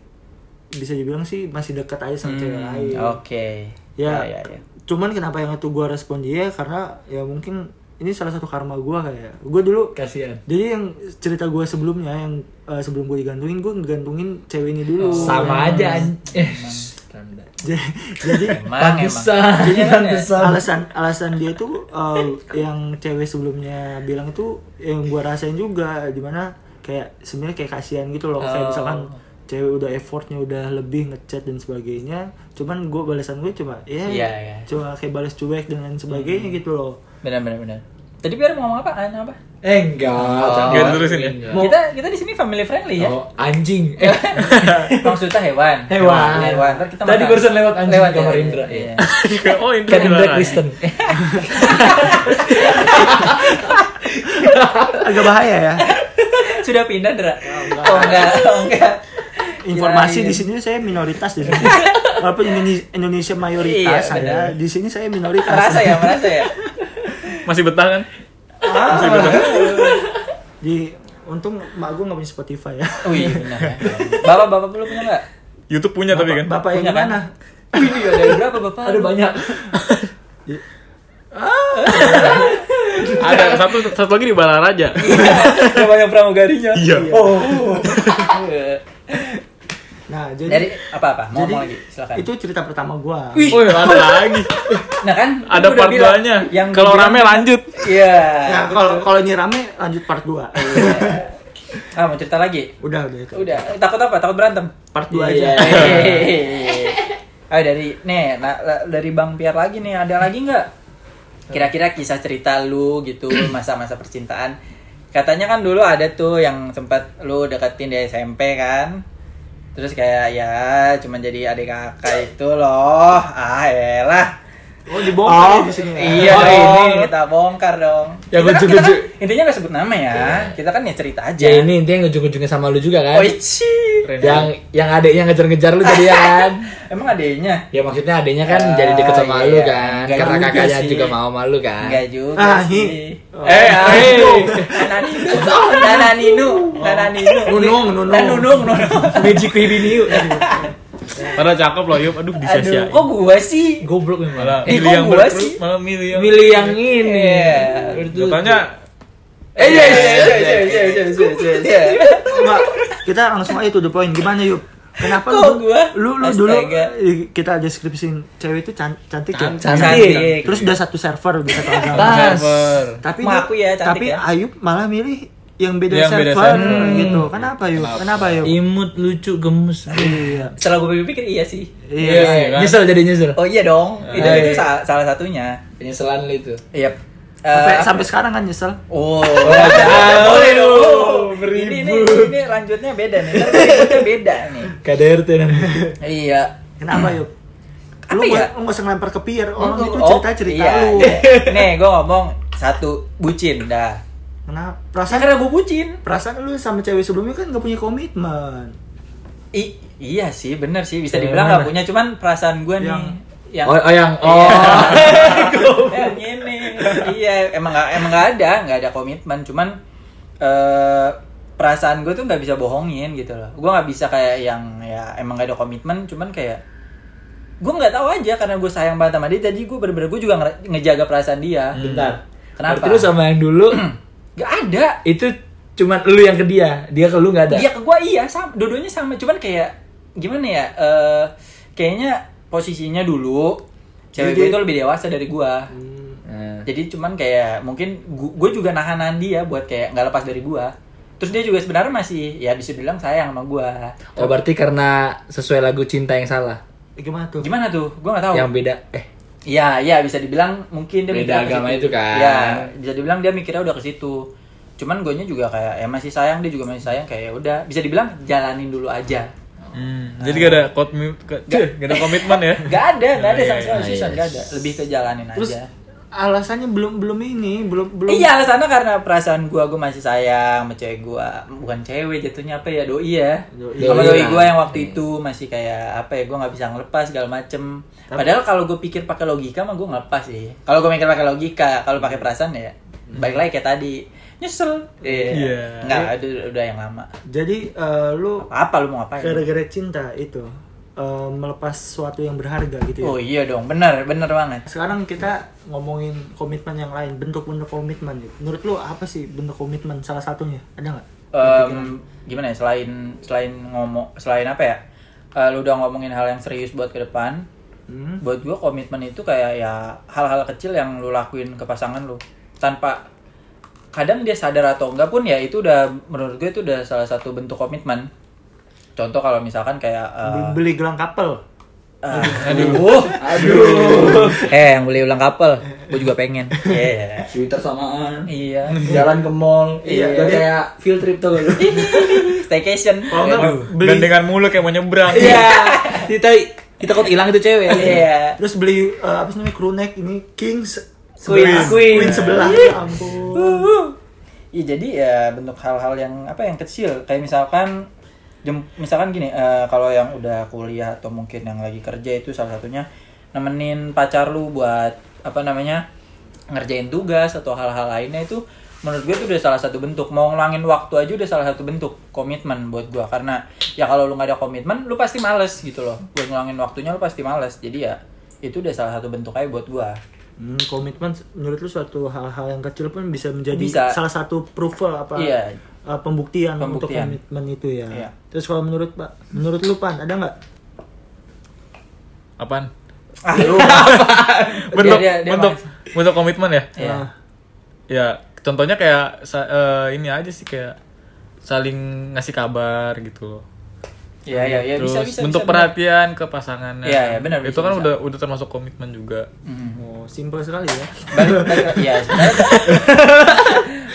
[SPEAKER 3] bisa dibilang sih masih dekat aja sama cewek
[SPEAKER 2] Hmm,
[SPEAKER 5] Iya.
[SPEAKER 3] lain
[SPEAKER 2] Oke.
[SPEAKER 3] ya,
[SPEAKER 2] ya, ya.
[SPEAKER 3] cuman kenapa yang itu gua respon dia karena ya mungkin ini salah satu karma gua kayak ya. gua dulu
[SPEAKER 5] Kasihan.
[SPEAKER 3] jadi yang cerita gue sebelumnya yang eh, sebelum gue digantungin gue gantungin cewek ini dulu.
[SPEAKER 2] Hmm.
[SPEAKER 5] Sama aja. an- Eh,
[SPEAKER 3] jadi jadi
[SPEAKER 2] Emang,
[SPEAKER 5] Pantesan.
[SPEAKER 2] emang. Iya, kan, ya?
[SPEAKER 3] alasan alasan dia tuh eh, yang cewek sebelumnya bilang itu yang gue rasain juga dimana kayak sebenarnya kayak kasihan gitu loh
[SPEAKER 2] Oh.
[SPEAKER 3] kayak misalkan cewek udah effortnya udah lebih ngechat dan sebagainya cuman gue balasan gue cuma
[SPEAKER 2] Iya,
[SPEAKER 3] ya
[SPEAKER 2] iya. Hmm.
[SPEAKER 3] cuma kayak balas cuek dan lain sebagainya gitu loh
[SPEAKER 2] Benar, benar, benar. Tadi biar mau ngomong apa? An, apa?
[SPEAKER 5] Eh, enggak.
[SPEAKER 2] Oh.
[SPEAKER 5] jangan.
[SPEAKER 1] Terusin ya?
[SPEAKER 5] Enggak.
[SPEAKER 2] Kita kita di sini family friendly ya.
[SPEAKER 5] Oh, anjing. Eh,
[SPEAKER 2] Maksudnya hewan.
[SPEAKER 5] Hewan.
[SPEAKER 2] Hewan. Ntar kita
[SPEAKER 5] Tadi
[SPEAKER 2] makan.
[SPEAKER 5] barusan lewat anjing
[SPEAKER 2] Lewat,
[SPEAKER 5] kamar
[SPEAKER 2] iya,
[SPEAKER 5] Indra,
[SPEAKER 2] iya.
[SPEAKER 1] oh Indra
[SPEAKER 5] kan Indra
[SPEAKER 1] bilang,
[SPEAKER 5] Kristen.
[SPEAKER 3] agak bahaya ya
[SPEAKER 2] Sudah pindah, Dra. Oh, enggak. Oh, enggak. Iya,
[SPEAKER 3] informasi
[SPEAKER 2] Kirain.
[SPEAKER 3] di sini saya minoritas di sini walaupun Indone- Indonesia
[SPEAKER 2] Iya,
[SPEAKER 3] mayoritas saya
[SPEAKER 2] benar.
[SPEAKER 3] di sini saya minoritas
[SPEAKER 2] Merasa ya, merasa ya.
[SPEAKER 1] masih betah kan
[SPEAKER 3] di untung mak gue nggak punya Spotify ya
[SPEAKER 2] Oh iya benar. Bapak-bapak belum punya enggak?
[SPEAKER 1] YouTube punya tapi kan
[SPEAKER 3] bapak yang
[SPEAKER 2] Punya kan?
[SPEAKER 3] mana
[SPEAKER 2] Ini ada berapa bapak?
[SPEAKER 5] Ada banyak.
[SPEAKER 1] ada satu satu lagi di Balaraja
[SPEAKER 2] Ada banyak pramugarinya.
[SPEAKER 1] Iya.
[SPEAKER 2] Oh.
[SPEAKER 3] nah jadi
[SPEAKER 2] Dari apa-apa? Mau
[SPEAKER 3] jadi
[SPEAKER 2] ngomong lagi, silakan.
[SPEAKER 3] itu cerita pertama gua
[SPEAKER 2] Wih.
[SPEAKER 1] Wih, ada lagi
[SPEAKER 2] Nah kan
[SPEAKER 1] ada
[SPEAKER 2] gua udah
[SPEAKER 1] part
[SPEAKER 2] bilang,
[SPEAKER 1] 2-nya.
[SPEAKER 2] yang
[SPEAKER 1] kalau
[SPEAKER 2] gua bilang-
[SPEAKER 1] rame lanjut
[SPEAKER 2] Iya.
[SPEAKER 3] nah kalau kalau ini rame lanjut part 2
[SPEAKER 2] Iya. Ah, mau cerita lagi?
[SPEAKER 3] udah udah itu
[SPEAKER 2] Udah, Eh, takut apa? Takut berantem.
[SPEAKER 3] part 2
[SPEAKER 5] Iya,
[SPEAKER 3] aja
[SPEAKER 2] Hehehe. Ayo Oh, dari nih na- la- dari Bang Piar lagi nih ada lagi nggak kira-kira kisah cerita lu gitu masa-masa percintaan katanya kan dulu ada tuh yang sempat lu deketin di SMP kan terus kayak ya cuman jadi adik kakak itu loh ah elah
[SPEAKER 3] oh
[SPEAKER 2] Oh,
[SPEAKER 3] dibongkar ya di sini ya.
[SPEAKER 2] Iya
[SPEAKER 5] Oh,
[SPEAKER 2] dong,
[SPEAKER 5] ini.
[SPEAKER 2] kita bongkar dong.
[SPEAKER 5] Ya,
[SPEAKER 2] kita, kan,
[SPEAKER 5] lucu-lucu.
[SPEAKER 2] kita kan intinya nggak sebut nama ya. Kita kan ya cerita aja.
[SPEAKER 5] Ya ini intinya ngejung-ngejungnya sama lu juga
[SPEAKER 2] Oh,
[SPEAKER 5] kan.
[SPEAKER 2] Oichi.
[SPEAKER 5] Yang yang adeknya ngejar-ngejar lu jadi ya kan.
[SPEAKER 2] Emang adanya?
[SPEAKER 5] Ya maksudnya adeknya kan
[SPEAKER 2] Ah,
[SPEAKER 5] jadi deket sama
[SPEAKER 2] iya.
[SPEAKER 5] lu kan.
[SPEAKER 2] Enggak
[SPEAKER 5] Karena
[SPEAKER 2] juga
[SPEAKER 5] kakaknya
[SPEAKER 2] sih.
[SPEAKER 5] juga mau sama lu kan.
[SPEAKER 2] Enggak juga
[SPEAKER 3] Ah,
[SPEAKER 2] sih. Oh.
[SPEAKER 3] hi.
[SPEAKER 1] eh eh
[SPEAKER 2] Nananinu, Nananinu, Nananinu.
[SPEAKER 3] Nunung, Nunung.
[SPEAKER 2] Nah, Nunung, Nunung.
[SPEAKER 5] Magic Baby New.
[SPEAKER 1] Padahal cakep loh Yup aduh
[SPEAKER 2] Aduh,
[SPEAKER 1] disia-siain
[SPEAKER 2] kok gua sih?
[SPEAKER 5] Goblok memang.
[SPEAKER 1] malah
[SPEAKER 2] Eh,
[SPEAKER 1] milih
[SPEAKER 2] kok
[SPEAKER 1] yang
[SPEAKER 2] gua
[SPEAKER 1] berapa
[SPEAKER 2] sih?
[SPEAKER 1] malah milih yang
[SPEAKER 5] Milih yang ini.
[SPEAKER 2] Iya.
[SPEAKER 1] katanya
[SPEAKER 5] Eh
[SPEAKER 2] Iya, iya,
[SPEAKER 5] yes.
[SPEAKER 2] iya, iya, iya, iya, iya, iya, iya.
[SPEAKER 3] Mbak, kita langsung aja to the point gimana yuk kenapa
[SPEAKER 2] Kok
[SPEAKER 3] lu
[SPEAKER 2] gua?
[SPEAKER 3] lu, lu dulu
[SPEAKER 2] Astaga.
[SPEAKER 3] eh, kita deskripsiin cewek itu can- cantik ya
[SPEAKER 2] iya,
[SPEAKER 5] Cantik.
[SPEAKER 3] terus udah satu server udah satu agama
[SPEAKER 5] Tas.
[SPEAKER 3] tapi
[SPEAKER 2] Mau aku ya, cantik
[SPEAKER 3] tapi
[SPEAKER 2] ya.
[SPEAKER 3] Ayub malah milih yang beda
[SPEAKER 1] Yang beda
[SPEAKER 3] server
[SPEAKER 1] server. Hmm.
[SPEAKER 3] gitu kenapa Ayub kenapa Ayub
[SPEAKER 5] Imut lucu gemes.
[SPEAKER 3] iya
[SPEAKER 2] Setelah gue pikir-pikir iya sih.
[SPEAKER 3] iya
[SPEAKER 1] iya kan?
[SPEAKER 5] Nyesel jadi nyesel.
[SPEAKER 2] Oh iya dong, itu
[SPEAKER 5] Ah,
[SPEAKER 2] itu
[SPEAKER 5] iya.
[SPEAKER 2] salah, salah satunya.
[SPEAKER 5] Penyesalan lu itu.
[SPEAKER 2] Iya.
[SPEAKER 3] sampai sampai sekarang kan nyesel
[SPEAKER 2] Oh, boleh dong. Ini, ini, ini lanjutnya beda nih. Ntar Berikutnya beda nih.
[SPEAKER 5] KDRT namanya.
[SPEAKER 2] Iya.
[SPEAKER 3] kenapa Ayub lu
[SPEAKER 2] Apa ya?
[SPEAKER 3] nggak nggak usah ngelempar ke pier orang itu
[SPEAKER 2] Oh,
[SPEAKER 3] cerita cerita
[SPEAKER 2] iya,
[SPEAKER 3] lu
[SPEAKER 2] iya. Nih, gue ngomong satu bucin dah.
[SPEAKER 3] kenapa
[SPEAKER 2] Ya,
[SPEAKER 3] perasaan
[SPEAKER 2] karena gue bucin.
[SPEAKER 3] perasaan lu sama cewek sebelumnya kan nggak punya komitmen
[SPEAKER 2] I- iya sih, bener sih. Bisa
[SPEAKER 5] Yang
[SPEAKER 2] dibilang nggak
[SPEAKER 5] mana?
[SPEAKER 2] punya, cuman perasaan gue nih
[SPEAKER 3] Yang-
[SPEAKER 2] yang Iya.
[SPEAKER 5] Oh, oh yang oh.
[SPEAKER 2] yang ini. Iya, emang nggak emang nggak ada, nggak ada komitmen. Cuman eh perasaan gue tuh nggak bisa bohongin gitu loh. Gue nggak bisa kayak yang ya emang nggak ada komitmen. Cuman kayak gue nggak tahu aja karena gue sayang banget sama dia. Jadi gue bener-bener gue juga ngera- ngejaga perasaan dia.
[SPEAKER 5] Hmm. Bentar.
[SPEAKER 2] Kenapa?
[SPEAKER 5] Berarti lu sama yang dulu
[SPEAKER 2] Gak ada.
[SPEAKER 5] itu cuman lu yang ke dia, dia ke lu nggak ada.
[SPEAKER 2] Dia ke gue iya sama. Dua-duanya sama. Cuman kayak gimana ya? eh kayaknya posisinya dulu cewek gue
[SPEAKER 3] Jadi-
[SPEAKER 2] itu lebih dewasa dari gue.
[SPEAKER 5] Nah.
[SPEAKER 2] jadi cuman kayak mungkin gue juga nahan-nahan dia buat kayak nggak lepas dari gue terus dia juga sebenarnya masih ya bisa bilang sayang sama gue
[SPEAKER 5] Oh berarti karena sesuai lagu cinta yang salah,
[SPEAKER 3] Eh, gimana tuh
[SPEAKER 2] gimana tuh gue nggak tahu
[SPEAKER 5] yang beda. Eh
[SPEAKER 2] Iya, iya bisa dibilang mungkin dia mikirnya
[SPEAKER 5] Beda
[SPEAKER 2] ke
[SPEAKER 5] agama
[SPEAKER 2] situ.
[SPEAKER 5] itu kan.
[SPEAKER 2] Iya, bisa dibilang dia mikirnya udah ke situ. cuman guanya juga kayak ya masih sayang dia juga masih sayang kayak ya udah bisa dibilang jalanin dulu aja
[SPEAKER 1] Hmm, jadi gak ada komitmen, gak ada komitmen ya.
[SPEAKER 2] nggak ada nggak ada
[SPEAKER 1] Iya,
[SPEAKER 2] sama sekali
[SPEAKER 5] iya,
[SPEAKER 2] seriusan,
[SPEAKER 5] iya.
[SPEAKER 2] nggak ada lebih ke jalanin
[SPEAKER 3] Terus
[SPEAKER 2] aja
[SPEAKER 3] alasannya belum belum ini, belum belum.
[SPEAKER 2] Iya alasannya karena perasaan gua gua masih sayang sama cewek gua bukan cewek jatuhnya apa ya doi ya
[SPEAKER 3] Doi.
[SPEAKER 2] sama
[SPEAKER 5] Doi
[SPEAKER 2] doi
[SPEAKER 5] lah.
[SPEAKER 2] gua yang waktu
[SPEAKER 5] Iya.
[SPEAKER 2] itu masih kayak apa ya gua nggak bisa ngelepas segala macem padahal kalau gua pikir pakai logika mah gua ngelepas sih kalau gua mikir pakai logika kalau pakai perasaan ya balik lagi kayak tadi nyesel iya
[SPEAKER 1] Iya.
[SPEAKER 2] nggak udah, udah yang lama
[SPEAKER 3] Jadi eh, lu
[SPEAKER 2] apa lu mau ngapain
[SPEAKER 3] gara-gara cinta itu eh, melepas sesuatu yang berharga gitu ya.
[SPEAKER 2] oh iya dong bener bener banget
[SPEAKER 3] Sekarang kita ngomongin komitmen yang lain, bentuk-bentuk komitmen. ya. Menurut lu apa sih bentuk komitmen salah satunya? Ada nggak?
[SPEAKER 2] Em, gimana ya selain selain ngomong selain apa ya Eh, lu udah ngomongin hal yang serius buat ke depan
[SPEAKER 3] Hmm.
[SPEAKER 2] buat gue komitmen itu kayak ya hal-hal kecil yang lu lakuin ke pasangan lu tanpa kadang dia sadar atau enggak pun ya itu udah menurut gue itu udah salah satu bentuk komitmen contoh kalau misalkan kayak eh,
[SPEAKER 3] Beli- Beli gelang kapel.
[SPEAKER 2] eh, aduh eh yang beli ulang kapel gue juga pengen Iya.
[SPEAKER 5] Twitter samaan.
[SPEAKER 2] iya
[SPEAKER 5] Jalan ke mall.
[SPEAKER 2] Iya.
[SPEAKER 5] Udah kayak field trip tuh lu.
[SPEAKER 2] staycation
[SPEAKER 3] Kalau nggak,
[SPEAKER 2] Aduh.
[SPEAKER 3] beli
[SPEAKER 1] Gandengan mulu kayak mau nyebrang.
[SPEAKER 5] Iya. Kita kita kok hilang itu cewek.
[SPEAKER 2] iya
[SPEAKER 3] terus beli eh, apa sih namanya crew neck ini king se-
[SPEAKER 2] Queen.
[SPEAKER 3] sebelah
[SPEAKER 2] Queen.
[SPEAKER 3] sebelah ya ampun
[SPEAKER 2] Iya jadi ya bentuk hal-hal yang apa yang kecil kayak misalkan jem- misalkan gini eh, kalau yang udah kuliah atau mungkin yang lagi kerja itu salah satunya nemenin pacar lu buat apa namanya ngerjain tugas atau hal-hal lainnya itu menurut gue itu udah salah satu bentuk mau ngulangin waktu aja udah salah satu bentuk komitmen buat gua karena ya kalau lu nggak ada komitmen lu pasti males gitu loh buat ngulangin waktunya lu pasti males jadi ya itu udah salah satu bentuk aja buat gua
[SPEAKER 3] Hmm, komitmen menurut lu suatu hal-hal yang kecil pun bisa menjadi
[SPEAKER 2] Bisa.
[SPEAKER 3] salah satu approval apa
[SPEAKER 2] Iya.
[SPEAKER 3] eh, pembuktian, untuk
[SPEAKER 2] Pembuktian.
[SPEAKER 3] komitmen itu ya
[SPEAKER 2] Iya.
[SPEAKER 3] terus kalau menurut pak menurut lu pan ada nggak
[SPEAKER 1] Apaan?
[SPEAKER 2] ah
[SPEAKER 1] Bentuk,
[SPEAKER 2] Dia- dia- dia
[SPEAKER 1] bentuk, bentuk komitmen ya.
[SPEAKER 2] Iya.
[SPEAKER 3] Ah,
[SPEAKER 1] Ya, contohnya kayak sa- eh, ini aja sih kayak saling ngasih kabar gitu loh.
[SPEAKER 2] ya ya ya
[SPEAKER 1] Terus
[SPEAKER 2] bisa bisa
[SPEAKER 1] bentuk
[SPEAKER 2] bisa, bener.
[SPEAKER 1] perhatian ke pasangannya.
[SPEAKER 2] Iya, iya, benar,
[SPEAKER 1] Itu
[SPEAKER 2] bisa,
[SPEAKER 1] kan
[SPEAKER 2] bisa.
[SPEAKER 1] udah udah termasuk komitmen juga.
[SPEAKER 2] Mm.
[SPEAKER 3] oh simple sekali ya
[SPEAKER 2] balik balik ya sebenarnya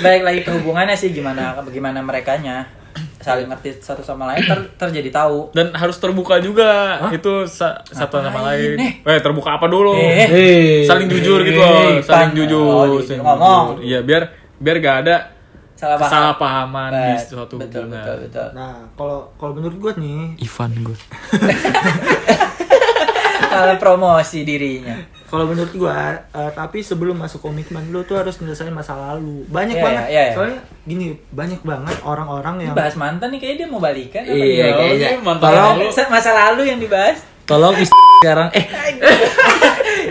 [SPEAKER 2] balik lagi ke hubungannya sih gimana bagaimana merekanya saling ngerti satu sama lain ter, terjadi tahu
[SPEAKER 1] Dan harus terbuka juga. Itu sa- satu sama lain.
[SPEAKER 2] Ngapain, eh?
[SPEAKER 1] Eh, terbuka apa dulu?
[SPEAKER 2] Eh,
[SPEAKER 5] Hei.
[SPEAKER 1] Saling jujur gitu loh,
[SPEAKER 2] eh,
[SPEAKER 1] saling
[SPEAKER 2] pan-
[SPEAKER 1] jujur,
[SPEAKER 2] oh, jujur.
[SPEAKER 1] saling
[SPEAKER 2] Ngomong.
[SPEAKER 1] jujur. Iya, biar biar gak ada
[SPEAKER 2] salah paham
[SPEAKER 1] kesalahpahaman di
[SPEAKER 2] Bet-
[SPEAKER 1] suatu
[SPEAKER 2] betul,
[SPEAKER 1] hubungan.
[SPEAKER 2] betul betul
[SPEAKER 3] nah kalau kalau menurut gue nih
[SPEAKER 1] Ivan gue.
[SPEAKER 2] salah promosi dirinya
[SPEAKER 3] kalau menurut gua eh, tapi sebelum masuk komitmen lu tuh harus menyelesaikan masa lalu banyak
[SPEAKER 2] Iya,
[SPEAKER 3] banget
[SPEAKER 2] iya, iya.
[SPEAKER 3] soalnya gini banyak banget orang-orang
[SPEAKER 2] Ini
[SPEAKER 1] Iya.
[SPEAKER 3] yang
[SPEAKER 2] bahas mantan nih kayaknya dia mau balikan apa
[SPEAKER 5] Iya
[SPEAKER 2] gimana?
[SPEAKER 5] kayaknya.
[SPEAKER 1] ini Ya mantap
[SPEAKER 5] Tolong
[SPEAKER 1] banget.
[SPEAKER 2] Sa- masa lalu yang dibahas
[SPEAKER 5] tolong istri sekarang eh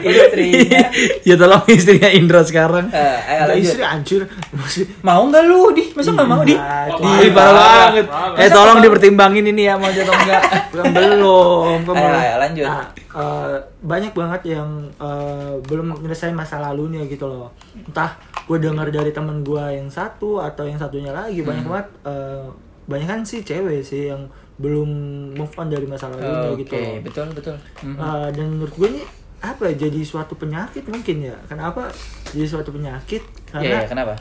[SPEAKER 2] istrinya
[SPEAKER 5] ya tolong istrinya Indra sekarang.
[SPEAKER 2] Eh, ayo
[SPEAKER 3] Nggak,
[SPEAKER 2] lanjut.
[SPEAKER 3] istri hancur Maksudnya,
[SPEAKER 2] mau nggak lu di masa nggak mau di
[SPEAKER 1] Iya.
[SPEAKER 2] Iya,
[SPEAKER 5] Ih, parah banget. Eh tolong dipertimbangin ini ya mau jatuh enggak.
[SPEAKER 3] belum belum belum.
[SPEAKER 2] Ayo, ayo, lanjut.
[SPEAKER 3] Nah, eh, banyak banget yang eh, belum menyelesaikan masa lalunya gitu loh entah gue dengar dari teman gue yang satu atau yang satunya
[SPEAKER 2] Hmm.
[SPEAKER 3] lagi banyak banget banyak kan sih cewek sih yang belum move on dari masa lalunya
[SPEAKER 2] oke
[SPEAKER 3] gitu loh.
[SPEAKER 2] betul betul Mm.
[SPEAKER 3] Eh, dan menurut gue ini apa ya, jadi suatu penyakit mungkin ya kenapa jadi suatu penyakit
[SPEAKER 2] Iya, iya,
[SPEAKER 3] karena
[SPEAKER 2] kenapa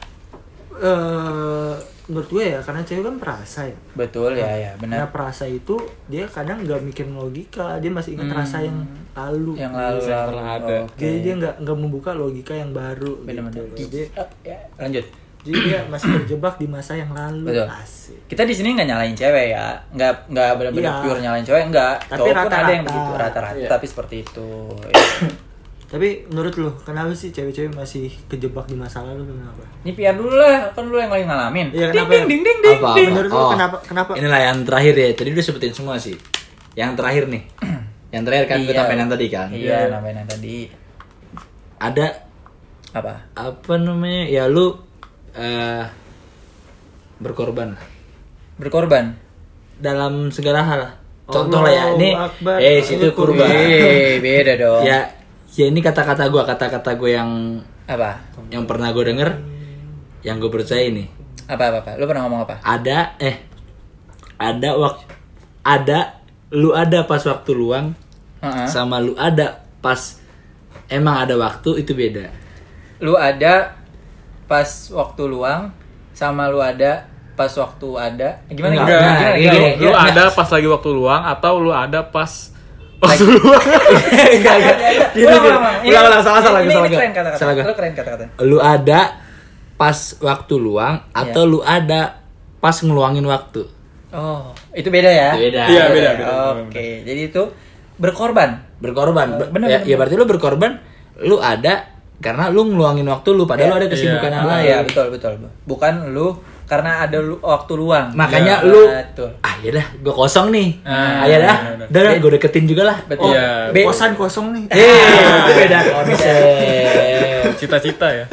[SPEAKER 3] eh, menurut gue ya karena cewek kan perasa ya
[SPEAKER 2] betul ya ya
[SPEAKER 3] Nah,
[SPEAKER 2] benar
[SPEAKER 3] perasa itu dia kadang nggak mikirin logika, dia masih ingat rasa yang lalu.
[SPEAKER 2] Hmm. yang lalu
[SPEAKER 1] Yang
[SPEAKER 2] lalu
[SPEAKER 1] pernah ada.
[SPEAKER 2] Oke.
[SPEAKER 3] Jadi dia nggak nggak membuka logika yang baru.
[SPEAKER 2] benar-benar
[SPEAKER 3] gitu. Jadi,
[SPEAKER 2] Oh, ya, lanjut
[SPEAKER 3] jadi dia masih terjebak di masa yang lalu.
[SPEAKER 2] Betul.
[SPEAKER 3] Asik.
[SPEAKER 2] kita di sini nggak nyalain cewek ya nggak nggak benar-benar
[SPEAKER 3] Iya.
[SPEAKER 2] pure nyalain cewek nggak
[SPEAKER 3] Tapi
[SPEAKER 2] cowok pun ada
[SPEAKER 3] rata-rata.
[SPEAKER 2] yang begitu rata-rata
[SPEAKER 5] Iya.
[SPEAKER 2] tapi seperti itu ya.
[SPEAKER 3] Tapi menurut lo, kenapa sih cewek-cewek masih kejebak di masa lalu kenapa?
[SPEAKER 2] ini PR dulu lah kan lu yang paling ngalamin
[SPEAKER 3] Iya,
[SPEAKER 2] ding
[SPEAKER 3] kenapa?
[SPEAKER 2] ding ding ding ding
[SPEAKER 5] Apa,
[SPEAKER 2] ding.
[SPEAKER 5] apa?
[SPEAKER 3] Menurut lo
[SPEAKER 5] Oh.
[SPEAKER 3] kenapa kenapa?
[SPEAKER 5] Inilah yang terakhir ya. Tadi udah sebutin semua sih. Yang terakhir nih. Yang terakhir kan gue
[SPEAKER 2] Iya.
[SPEAKER 5] tambahin yang tadi kan.
[SPEAKER 2] iya nambahin yang tadi
[SPEAKER 5] Ada
[SPEAKER 2] apa
[SPEAKER 5] apa namanya? Ya lu eh berkorban lah.
[SPEAKER 2] berkorban
[SPEAKER 5] dalam segala hal.
[SPEAKER 3] Allahu
[SPEAKER 5] Contoh lah ya. Ini
[SPEAKER 3] Akbar.
[SPEAKER 5] eh situ
[SPEAKER 3] Allahu
[SPEAKER 5] kurban.
[SPEAKER 2] eh beda dong
[SPEAKER 3] Iya.
[SPEAKER 5] Ya ya ini kata-kata gua, kata-kata gua yang
[SPEAKER 2] apa
[SPEAKER 5] yang pernah gua denger yang gue percaya ini.
[SPEAKER 2] apa apa apa lu pernah ngomong apa
[SPEAKER 5] ada eh ada waktu ada lu ada pas waktu luang
[SPEAKER 2] Heeh.
[SPEAKER 5] sama lu ada pas emang ada waktu itu beda
[SPEAKER 2] lu ada pas waktu luang sama lu ada pas waktu ada gimana
[SPEAKER 5] Enggak,
[SPEAKER 2] gimana,
[SPEAKER 5] enggak.
[SPEAKER 2] gimana,
[SPEAKER 5] Iya,
[SPEAKER 2] gimana?
[SPEAKER 5] iya,
[SPEAKER 1] Lu
[SPEAKER 5] iya.
[SPEAKER 1] ada pas lagi waktu luang atau lu ada pas waktu luang?
[SPEAKER 2] Enggak, enggak.
[SPEAKER 5] Gitu,
[SPEAKER 2] Ulang,
[SPEAKER 5] gitu.
[SPEAKER 2] ulang, ulang. Ini-
[SPEAKER 5] Ulang, ulang. Salah, salah,
[SPEAKER 2] ini-
[SPEAKER 5] salah,
[SPEAKER 2] Ini keren
[SPEAKER 5] salah.
[SPEAKER 2] kata-kata.
[SPEAKER 5] Salah,
[SPEAKER 2] Lu keren kata-kata.
[SPEAKER 5] lu ada pas waktu luang atau
[SPEAKER 2] Iya.
[SPEAKER 5] lu ada pas ngeluangin waktu
[SPEAKER 2] Oh, itu beda ya?
[SPEAKER 5] Beda.
[SPEAKER 1] Iya, beda, beda.
[SPEAKER 2] Oke, jadi itu berkorban.
[SPEAKER 5] berkorban Ber-
[SPEAKER 2] Bener,
[SPEAKER 5] ya,
[SPEAKER 2] bener,
[SPEAKER 5] ya berarti lu berkorban lu ada karena lu ngeluangin waktu lu padahal lu ada kesibukan yang
[SPEAKER 2] Ah,
[SPEAKER 5] lain
[SPEAKER 2] ya, betul, betul. Bukan lu karena ada lu, waktu luang.
[SPEAKER 5] makanya
[SPEAKER 2] Ya,
[SPEAKER 5] lu
[SPEAKER 2] betul.
[SPEAKER 5] ah ya dah gue kosong nih
[SPEAKER 1] Ah,
[SPEAKER 5] ah ya dah
[SPEAKER 1] bener,
[SPEAKER 5] dah
[SPEAKER 2] Iya.
[SPEAKER 5] gue deketin juga lah
[SPEAKER 2] Betul.
[SPEAKER 1] Iya.
[SPEAKER 2] Oh, Be- Iya,
[SPEAKER 3] Kosan kosong nih.
[SPEAKER 5] Eh, itu beda konsep
[SPEAKER 1] Cita-cita ya.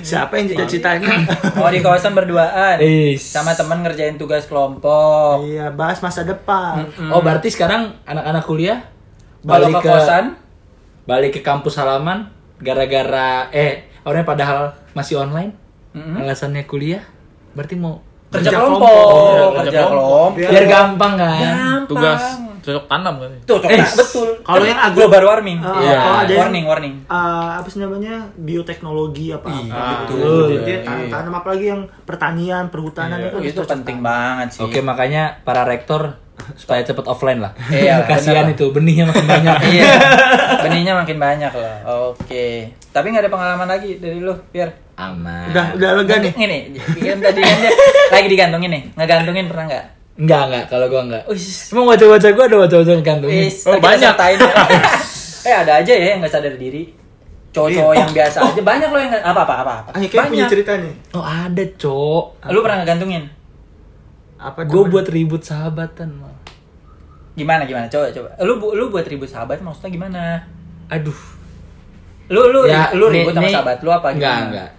[SPEAKER 3] Siapa yang cita-citanya?
[SPEAKER 2] Oh, di kawasan berduaan.
[SPEAKER 5] Is.
[SPEAKER 2] Sama teman ngerjain tugas kelompok.
[SPEAKER 3] Iya, bahas masa depan.
[SPEAKER 2] Hmm.
[SPEAKER 5] oh berarti sekarang anak-anak kuliah
[SPEAKER 2] Kalau ke kosan,
[SPEAKER 5] balik ke kampus halaman gara-gara eh orangnya padahal masih online alasannya kuliah berarti mau
[SPEAKER 2] kerja
[SPEAKER 3] Kerja
[SPEAKER 2] kelompok,
[SPEAKER 3] kelompok.
[SPEAKER 1] Iya,
[SPEAKER 2] kerja
[SPEAKER 1] kerja
[SPEAKER 2] kelompok.
[SPEAKER 3] Iya.
[SPEAKER 5] biar gampang kan
[SPEAKER 2] Gampang.
[SPEAKER 1] Tugas cocok tanam kan.
[SPEAKER 2] Tuh, cocok,
[SPEAKER 5] Eh,
[SPEAKER 2] betul.
[SPEAKER 3] kalau yang agak-
[SPEAKER 2] global warming.
[SPEAKER 3] Ah,
[SPEAKER 1] Iya.
[SPEAKER 3] kalau ada yang-
[SPEAKER 2] warning, warning.
[SPEAKER 3] Eh, apa sih namanya bioteknologi apa apa
[SPEAKER 1] Iya,
[SPEAKER 3] gitu.
[SPEAKER 1] betul.
[SPEAKER 3] Jadi tan- tanam apalagi yang pertanian,
[SPEAKER 1] Iya.
[SPEAKER 3] perhutanan itu harus
[SPEAKER 2] Iya. oh, itu
[SPEAKER 3] cocok
[SPEAKER 2] penting
[SPEAKER 3] tanam.
[SPEAKER 2] banget sih.
[SPEAKER 5] oke makanya para rektor supaya cepet offline lah
[SPEAKER 2] Iya,
[SPEAKER 5] kasihan
[SPEAKER 2] bener.
[SPEAKER 5] itu benihnya makin banyak
[SPEAKER 2] iya. Benihnya makin banyak loh. Oke. Tapi nggak ada pengalaman lagi dari lu, Pier.
[SPEAKER 5] aman
[SPEAKER 3] Udah udah lega nih.
[SPEAKER 2] Ini, kan tadi kan dia lagi digantungin nih. Ngegantungin pernah nggak?
[SPEAKER 5] enggak enggak kalau gua enggak
[SPEAKER 2] Wis.
[SPEAKER 5] emang wajah-wajah gua ada kan, wajah-wajah yang kantongin
[SPEAKER 2] Wis,
[SPEAKER 1] Oh,
[SPEAKER 2] kita
[SPEAKER 1] banyak.
[SPEAKER 2] sertain ya. eh, ada aja ya yang nggak sadar diri. Cowok-cowok yang biasa aja banyak loh yang nggak- apa apa apa apa.
[SPEAKER 3] Ah, kayak punya cerita nih.
[SPEAKER 5] oh ada cok
[SPEAKER 2] Lu pernah ngegantungin?
[SPEAKER 3] Apa
[SPEAKER 5] gua
[SPEAKER 3] namanya?
[SPEAKER 5] buat ribut sahabatan Mal.
[SPEAKER 2] Gimana gimana? Coba coba. Lu bu- lu buat ribut sahabat maksudnya gimana?
[SPEAKER 5] aduh
[SPEAKER 2] Lu lu
[SPEAKER 5] Ya,
[SPEAKER 2] lu ribut
[SPEAKER 5] nih-
[SPEAKER 2] sama
[SPEAKER 5] nih-
[SPEAKER 2] sahabat lu apa
[SPEAKER 5] Enggak,
[SPEAKER 2] gimana?
[SPEAKER 5] enggak.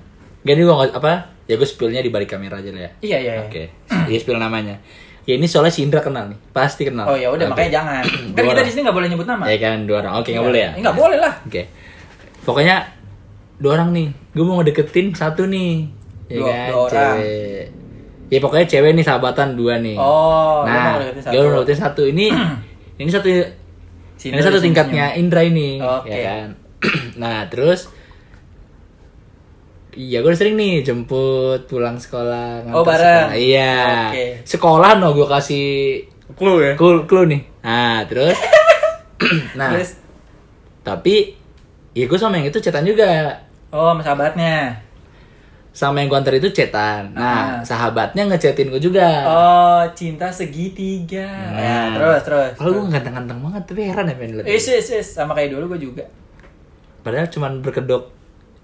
[SPEAKER 5] Jadi gua nggak- apa? Ya gua spillnya di balik kamera aja lah ya.
[SPEAKER 2] Iya, iya, iya.
[SPEAKER 5] Oke. Ya spill namanya. Ya ini soalnya si Indra kenal nih. Pasti kenal.
[SPEAKER 2] Oh ya udah
[SPEAKER 5] Oke.
[SPEAKER 2] makanya jangan. Kan
[SPEAKER 5] Dua
[SPEAKER 2] kita
[SPEAKER 5] orang.
[SPEAKER 2] di sini nggak boleh nyebut nama.
[SPEAKER 5] Ya kan dua orang. Oke, nggak boleh ya?
[SPEAKER 2] Enggak boleh lah.
[SPEAKER 5] Oke. Pokoknya dua orang nih. Gua mau ngedeketin satu nih. Ya
[SPEAKER 2] Dua-
[SPEAKER 5] kan,
[SPEAKER 2] dua orang.
[SPEAKER 5] cewek. Ya pokoknya cewek nih sahabatan dua nih.
[SPEAKER 2] Oh, lu mau
[SPEAKER 5] nah,
[SPEAKER 2] ngedeketin
[SPEAKER 5] dia
[SPEAKER 2] satu.
[SPEAKER 5] mau ngedeketin satu. Ini ini satu
[SPEAKER 2] Si
[SPEAKER 5] ini
[SPEAKER 2] Indra
[SPEAKER 5] satu
[SPEAKER 2] di sini
[SPEAKER 5] tingkatnya Indra ini,
[SPEAKER 2] Oke.
[SPEAKER 5] ya kan. nah terus, iya gue sering nih jemput pulang sekolah. nganter
[SPEAKER 2] Oh, bareng.
[SPEAKER 5] sekolah. Iya.
[SPEAKER 2] Oke.
[SPEAKER 5] Sekolah no gue kasih
[SPEAKER 1] Clue ya.
[SPEAKER 5] clue, clue nih. Nah terus, nah
[SPEAKER 2] Terus
[SPEAKER 5] tapi ya gue sama yang itu cetan juga.
[SPEAKER 2] oh, sama sahabatnya.
[SPEAKER 5] Sama yang gue anter itu cetan. Nah
[SPEAKER 2] Ah.
[SPEAKER 5] sahabatnya ngechatin gue juga.
[SPEAKER 2] Oh, cinta segitiga. Ya,
[SPEAKER 5] Nah.
[SPEAKER 2] terus terus.
[SPEAKER 5] Kalau gue ganteng-ganteng banget tapi heran ya pengen liat.
[SPEAKER 2] Is, is, is. sama kayak dulu gue juga.
[SPEAKER 5] Padahal cuman berkedok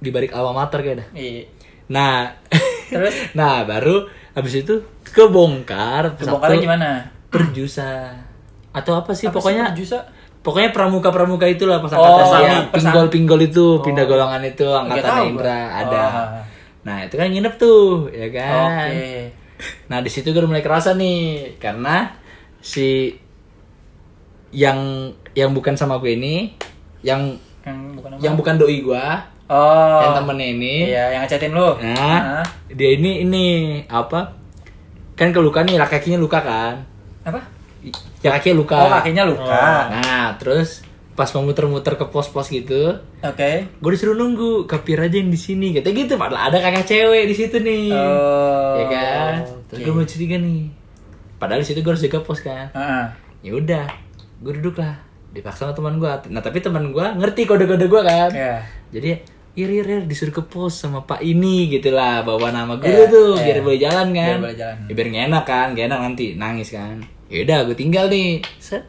[SPEAKER 5] di balik alma mater kayak dah.
[SPEAKER 2] Iya.
[SPEAKER 5] Nah,
[SPEAKER 2] Terus?
[SPEAKER 5] nah baru habis itu kebongkar.
[SPEAKER 2] Kebongkarnya
[SPEAKER 5] satu
[SPEAKER 2] gimana?
[SPEAKER 5] Perjusa atau apa sih
[SPEAKER 2] Apa sih
[SPEAKER 5] pokoknya?
[SPEAKER 2] perjusa?
[SPEAKER 5] Pokoknya pramuka-pramuka itulah pas
[SPEAKER 2] Oh,
[SPEAKER 5] angkatan saya.
[SPEAKER 2] persami.
[SPEAKER 5] pinggol-pinggol itu, pindah golongan itu
[SPEAKER 2] Nggak tahu
[SPEAKER 5] angkatan Indra
[SPEAKER 2] gua.
[SPEAKER 5] ada.
[SPEAKER 2] Oh.
[SPEAKER 5] Nah, itu kan nginep tuh, ya kan?
[SPEAKER 2] Oke.
[SPEAKER 5] Nah, di situ gue udah mulai kerasa nih karena si yang yang bukan sama gue ini, yang
[SPEAKER 2] Yang bukan nama.
[SPEAKER 5] yang bukan doi gua,
[SPEAKER 2] Oh.
[SPEAKER 5] yang temennya ini,
[SPEAKER 2] Iya, yang ngechatin lu.
[SPEAKER 5] Nah,
[SPEAKER 2] Hah?
[SPEAKER 5] dia ini ini apa? Kan ke luka nih, laki kakinya luka kan?
[SPEAKER 2] Apa?
[SPEAKER 5] I- Ya kakinya luka.
[SPEAKER 2] Oh, kakinya luka.
[SPEAKER 5] Nah, terus pas mau muter-muter ke pos-pos gitu,
[SPEAKER 2] Oke.
[SPEAKER 5] gue disuruh nunggu, kapir aja yang di sini. Katanya gitu, padahal ada kakak cewek di situ nih.
[SPEAKER 2] Oh.
[SPEAKER 5] ya Iya kan? Terus
[SPEAKER 2] oke.
[SPEAKER 5] gue mau curiga nih. Padahal di situ gue harus jaga pos kan.
[SPEAKER 2] Heeh.
[SPEAKER 5] Ya udah, gue duduk lah. Dipaksa sama teman gue. Nah, tapi teman gue ngerti kode-kode gue kan.
[SPEAKER 2] Iya.
[SPEAKER 5] Jadi ir ir ir disuruh ke pos sama pak ini gitu lah bawa nama gue
[SPEAKER 2] Iya,
[SPEAKER 5] tuh
[SPEAKER 2] iya.
[SPEAKER 5] biar boleh jalan kan
[SPEAKER 2] Biar boleh jalan.
[SPEAKER 5] Ya, biar nggak enak kan nggak enak nanti nangis kan yaudah gue tinggal nih set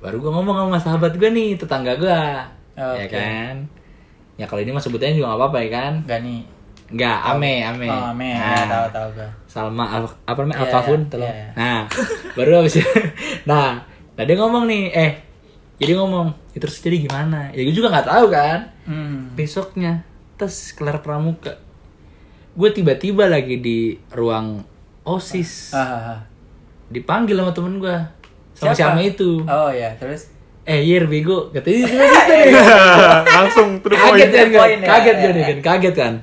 [SPEAKER 5] baru gue ngomong sama sahabat gue nih tetangga gue ya
[SPEAKER 2] Oke.
[SPEAKER 5] kan ya kalau ini mah sebutannya juga nggak apa-apa ya kan
[SPEAKER 2] Gani.
[SPEAKER 5] nggak ame ame
[SPEAKER 2] Oh, men.
[SPEAKER 5] Nah,
[SPEAKER 2] Tahu tahu gua.
[SPEAKER 5] Salma Al apa namanya
[SPEAKER 2] Iya,
[SPEAKER 5] Alfafun
[SPEAKER 2] iya,
[SPEAKER 5] tolong.
[SPEAKER 2] iya, iya.
[SPEAKER 5] Nah, baru habis itu. Nah, nah dia ngomong nih, eh jadi ngomong, "Ya terus jadi gimana? Ya gue juga nggak tahu kan.
[SPEAKER 2] Hmm.
[SPEAKER 5] Besoknya, tes kelar pramuka. Gue tiba-tiba lagi di ruang OSIS.
[SPEAKER 2] Ah, ah, ah.
[SPEAKER 5] Dipanggil sama temen gue. Sama si
[SPEAKER 2] Siapa?
[SPEAKER 5] Ame itu.
[SPEAKER 2] Oh ya, terus
[SPEAKER 5] Eh, Yer, bego. Katanya gitu nih.
[SPEAKER 1] Langsung terus
[SPEAKER 5] Kaget kan,
[SPEAKER 2] Poin
[SPEAKER 5] kan?
[SPEAKER 2] ya,
[SPEAKER 5] Kaget
[SPEAKER 2] ya,
[SPEAKER 5] kan,
[SPEAKER 2] ya.
[SPEAKER 5] kan? Kaget kan?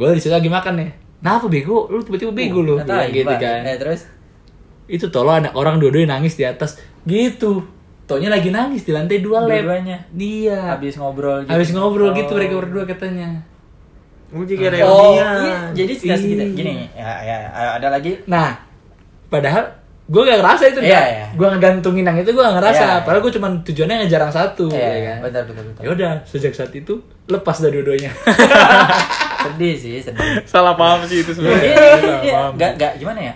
[SPEAKER 5] Gue di situ lagi makan ya. Kenapa bego? Lu tiba-tiba bego lu.
[SPEAKER 2] Uh, Nggak tahu,
[SPEAKER 5] Bilang gitu
[SPEAKER 2] Iqbal.
[SPEAKER 5] kan.
[SPEAKER 2] Eh, terus
[SPEAKER 5] itu tolong ada orang dua-duanya nangis di atas gitu tonya lagi nangis di lantai dua lab
[SPEAKER 2] Dua-duanya?
[SPEAKER 5] dia
[SPEAKER 2] habis ngobrol gitu.
[SPEAKER 5] habis ngobrol gitu
[SPEAKER 2] Oh.
[SPEAKER 5] mereka berdua katanya
[SPEAKER 3] Gue juga
[SPEAKER 2] Oh,
[SPEAKER 3] reunian.
[SPEAKER 2] iya. jadi sekitar
[SPEAKER 3] Ih.
[SPEAKER 2] segitu. Gini, ya, ya, ada lagi.
[SPEAKER 5] Nah, padahal gue gak ngerasa itu.
[SPEAKER 2] Iya, iya.
[SPEAKER 5] Gue ngegantungin yang itu gue gak ngerasa.
[SPEAKER 2] Iya, iya.
[SPEAKER 5] Padahal gue cuma tujuannya ngejar yang satu.
[SPEAKER 2] Iya,
[SPEAKER 5] ya
[SPEAKER 2] iya,
[SPEAKER 5] kan?
[SPEAKER 2] betul, betul, betul.
[SPEAKER 5] Ya udah, sejak saat itu lepas dari dua-duanya.
[SPEAKER 2] sedih sih, sedih.
[SPEAKER 1] Salah paham sih itu
[SPEAKER 2] Iya,
[SPEAKER 1] sebenarnya.
[SPEAKER 2] iya,
[SPEAKER 1] Salah
[SPEAKER 2] iya.
[SPEAKER 1] paham.
[SPEAKER 2] Gak, gak, gimana ya?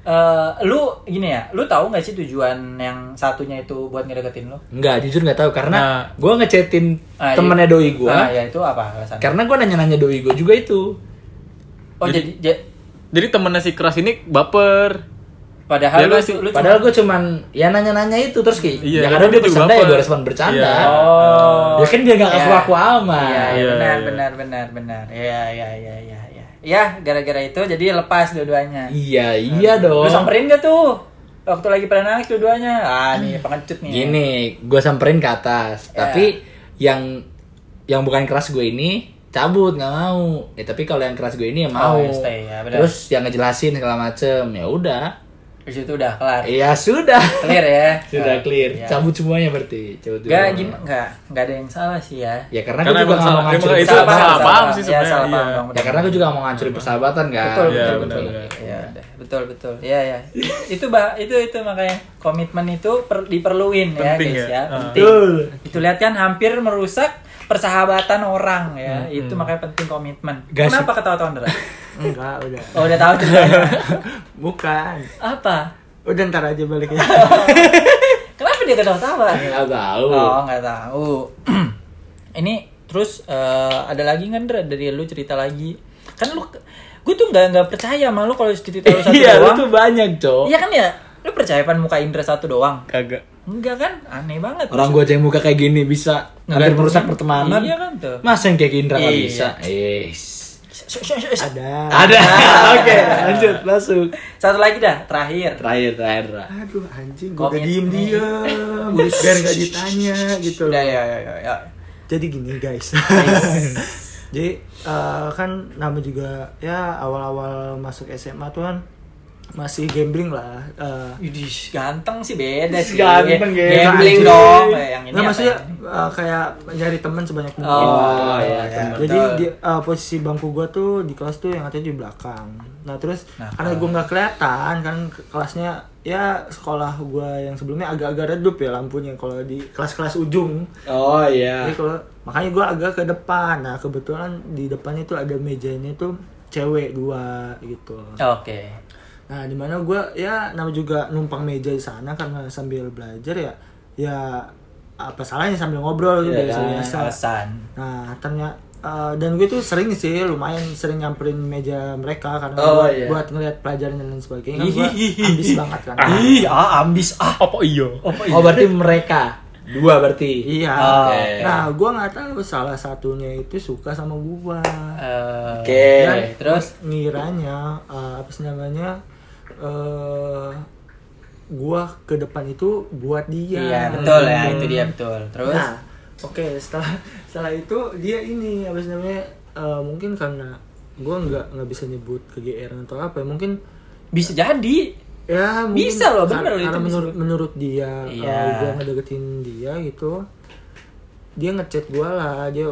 [SPEAKER 2] Eh, lu gini ya, lu tahu nggak sih tujuan yang satunya itu buat ngedeketin lu?
[SPEAKER 5] Enggak, jujur gak tahu
[SPEAKER 1] Nah.
[SPEAKER 5] karena gue ngechatin
[SPEAKER 2] Ah, iya.
[SPEAKER 5] temennya doi Kan- gue.
[SPEAKER 2] Ah, ya itu apa alasannya?
[SPEAKER 5] Karena gue nanya-nanya doi gue juga itu.
[SPEAKER 2] oh jadi, ja-
[SPEAKER 1] Jadi temennya si keras ini baper.
[SPEAKER 2] padahal
[SPEAKER 1] Ya, lu
[SPEAKER 2] lu,
[SPEAKER 1] sih-
[SPEAKER 2] lu cuma-
[SPEAKER 5] Padahal gue cuman ya nanya-nanya itu terus kayak
[SPEAKER 1] Iya,
[SPEAKER 5] ya
[SPEAKER 1] dia
[SPEAKER 5] kadang dia
[SPEAKER 1] juga
[SPEAKER 5] bercanda ya
[SPEAKER 1] baper.
[SPEAKER 5] gue respon bercanda.
[SPEAKER 1] Iya.
[SPEAKER 2] Oh.
[SPEAKER 5] Ya kan dia gak
[SPEAKER 2] Iya.
[SPEAKER 5] ngaku-ngaku amat.
[SPEAKER 2] Iya, iya,
[SPEAKER 1] Iya,
[SPEAKER 2] benar,
[SPEAKER 1] iya.
[SPEAKER 2] benar, benar, benar. Iya, iya, iya, iya, iya. Ya, gara-gara itu jadi lepas dua-duanya.
[SPEAKER 5] Iya, iya
[SPEAKER 2] Lu
[SPEAKER 5] dong.
[SPEAKER 2] samperin gak tuh? Waktu lagi pada nangis dua-duanya. Ah, nih pengecut nih.
[SPEAKER 5] Gini, gue samperin ke atas,
[SPEAKER 2] Ya.
[SPEAKER 5] tapi yang yang bukan keras gue ini cabut nggak mau. Ya, tapi kalau yang keras gue ini ya mau.
[SPEAKER 2] yang stay, ya, benar.
[SPEAKER 5] Terus yang ngejelasin segala macem, ya udah.
[SPEAKER 2] Terus itu udah kelar.
[SPEAKER 5] Ya sudah.
[SPEAKER 2] Clear ya.
[SPEAKER 5] sudah clear.
[SPEAKER 2] Iya.
[SPEAKER 5] Cabut semuanya berarti. Cabut
[SPEAKER 1] Iya.
[SPEAKER 2] Gak,
[SPEAKER 5] semuanya.
[SPEAKER 2] gini, gak, gak ada yang salah sih ya.
[SPEAKER 5] Ya karena,
[SPEAKER 1] Karena
[SPEAKER 5] gue juga
[SPEAKER 1] emang
[SPEAKER 5] nggak mau
[SPEAKER 1] salah-
[SPEAKER 5] ngancurin
[SPEAKER 1] emang Nah, itu
[SPEAKER 5] persahabatan.
[SPEAKER 1] salah paham
[SPEAKER 2] salah.
[SPEAKER 1] sih
[SPEAKER 2] Iya,
[SPEAKER 1] sebenarnya,
[SPEAKER 2] salah paham
[SPEAKER 1] iya.
[SPEAKER 2] dong,
[SPEAKER 5] Ya
[SPEAKER 2] benar.
[SPEAKER 5] karena gue juga nggak mau ngancurin persahabatan kan.
[SPEAKER 2] betul,
[SPEAKER 1] Iya,
[SPEAKER 2] betul,
[SPEAKER 1] benar,
[SPEAKER 2] betul.
[SPEAKER 1] benar.
[SPEAKER 2] Iya, udah. betul, betul. Iya, ya. itu bah, itu itu makanya komitmen itu per- diperluin ya,
[SPEAKER 1] Penting
[SPEAKER 2] guys ya,
[SPEAKER 1] ya. Ah.
[SPEAKER 2] penting. Itu lihat kan hampir merusak persahabatan orang ya.
[SPEAKER 1] Hmm,
[SPEAKER 2] itu makanya penting komitmen.
[SPEAKER 5] Guys,
[SPEAKER 2] Kenapa ketawa-tawa Ndra?
[SPEAKER 3] Enggak, udah.
[SPEAKER 2] Oh, udah tahu ceritanya.
[SPEAKER 3] Bukan.
[SPEAKER 2] Apa?
[SPEAKER 3] Udah ntar aja baliknya.
[SPEAKER 2] Kenapa dia ketawa-tawa?
[SPEAKER 5] Nggak tahu.
[SPEAKER 2] Oh, nggak tahu. Ini terus eh, ada lagi nggak Ndra dari lu cerita lagi? Kan lu gue tuh nggak nggak percaya sama lu kalau cerita lu satu
[SPEAKER 5] Iya, lu
[SPEAKER 2] doang.
[SPEAKER 5] tuh banyak, Cok.
[SPEAKER 2] Iya kan ya? Lu percaya pan muka Indra satu doang?
[SPEAKER 1] Kagak.
[SPEAKER 2] Enggak kan? Aneh banget.
[SPEAKER 5] Orang gue aja yang muka kayak gini bisa hampir
[SPEAKER 2] Ngegantungin.
[SPEAKER 5] merusak pertemanan.
[SPEAKER 2] Iya kan tuh.
[SPEAKER 5] Masa yang kayak Indra nggak
[SPEAKER 2] Iya.
[SPEAKER 5] bisa? Yes.
[SPEAKER 3] Ada.
[SPEAKER 5] Ada. Oke, lanjut masuk.
[SPEAKER 2] Satu lagi dah, terakhir.
[SPEAKER 5] Ah. Terakhir, terakhir. Ra.
[SPEAKER 3] Aduh anjing, gue udah
[SPEAKER 2] Komitmen.
[SPEAKER 3] diem diem, biar nggak ditanya gitu. loh.
[SPEAKER 2] Udah ya ya ya. ya.
[SPEAKER 3] Jadi gini guys. Jadi eh, kan nama juga ya awal-awal masuk SMA tuh kan masih gambling lah. Eh,
[SPEAKER 2] Yudis, ganteng sih beda sih.
[SPEAKER 5] Ganteng,
[SPEAKER 2] Ga-
[SPEAKER 5] ganteng.
[SPEAKER 2] Gambling
[SPEAKER 3] Anjing.
[SPEAKER 2] dong. Eh, Yang ini
[SPEAKER 3] Nah,
[SPEAKER 2] apa
[SPEAKER 3] maksudnya
[SPEAKER 2] ya?
[SPEAKER 3] eh, kayak nyari teman sebanyak mungkin. Nah,
[SPEAKER 2] Oh,
[SPEAKER 5] iya,
[SPEAKER 2] iya,
[SPEAKER 5] teman.
[SPEAKER 3] Jadi
[SPEAKER 2] betul.
[SPEAKER 3] di, eh, posisi bangku gua tuh di kelas tuh yang ada di belakang. Nah terus
[SPEAKER 2] Nah,
[SPEAKER 3] karena gua nggak kelihatan kan ke- kelasnya ya sekolah gua yang sebelumnya agak-agak redup ya lampunya kalau di kelas-kelas ujung.
[SPEAKER 5] Oh iya.
[SPEAKER 3] Jadi kalau makanya gua agak ke depan. Nah kebetulan di depannya tuh ada mejanya tuh cewek dua gitu.
[SPEAKER 2] Oke.
[SPEAKER 3] Nah, di mana gua ya nama juga numpang meja di sana karena sambil belajar ya ya apa salahnya sambil ngobrol gitu biasa biasa.
[SPEAKER 2] Alasan.
[SPEAKER 3] Nah, ternyata eh, dan gue tuh sering sih lumayan sering nyamperin meja mereka karena
[SPEAKER 5] Oh,
[SPEAKER 3] buat,
[SPEAKER 5] iya.
[SPEAKER 3] buat ngeliat pelajaran dan lain sebagainya kan gue ambis banget kan.
[SPEAKER 2] Ih, ah ambis ah.
[SPEAKER 1] Apa iya?
[SPEAKER 5] Oh berarti mereka dua berarti.
[SPEAKER 3] Iya.
[SPEAKER 2] Oke.
[SPEAKER 3] Nah, gua nggak tahu salah satunya itu suka sama gua.
[SPEAKER 2] Eh,
[SPEAKER 5] Oke.
[SPEAKER 2] dan Terus
[SPEAKER 3] ngiranya eh, apa sih namanya eh gua ke depan itu buat dia.
[SPEAKER 2] iya, betul ya, itu dia betul. Terus
[SPEAKER 3] Nah, oke setelah setelah itu dia ini apa sih namanya eh, mungkin karena gua nggak nggak bisa nyebut kegeeran atau apa ya, mungkin
[SPEAKER 2] bisa jadi
[SPEAKER 3] ya mungkin
[SPEAKER 2] Bisa loh,
[SPEAKER 3] kar-
[SPEAKER 2] bener loh, itu
[SPEAKER 3] karena
[SPEAKER 2] bisa.
[SPEAKER 3] menurut menurut dia eh,
[SPEAKER 2] Iya.
[SPEAKER 3] gua ngedeketin dia gitu dia ngechat gua lah dia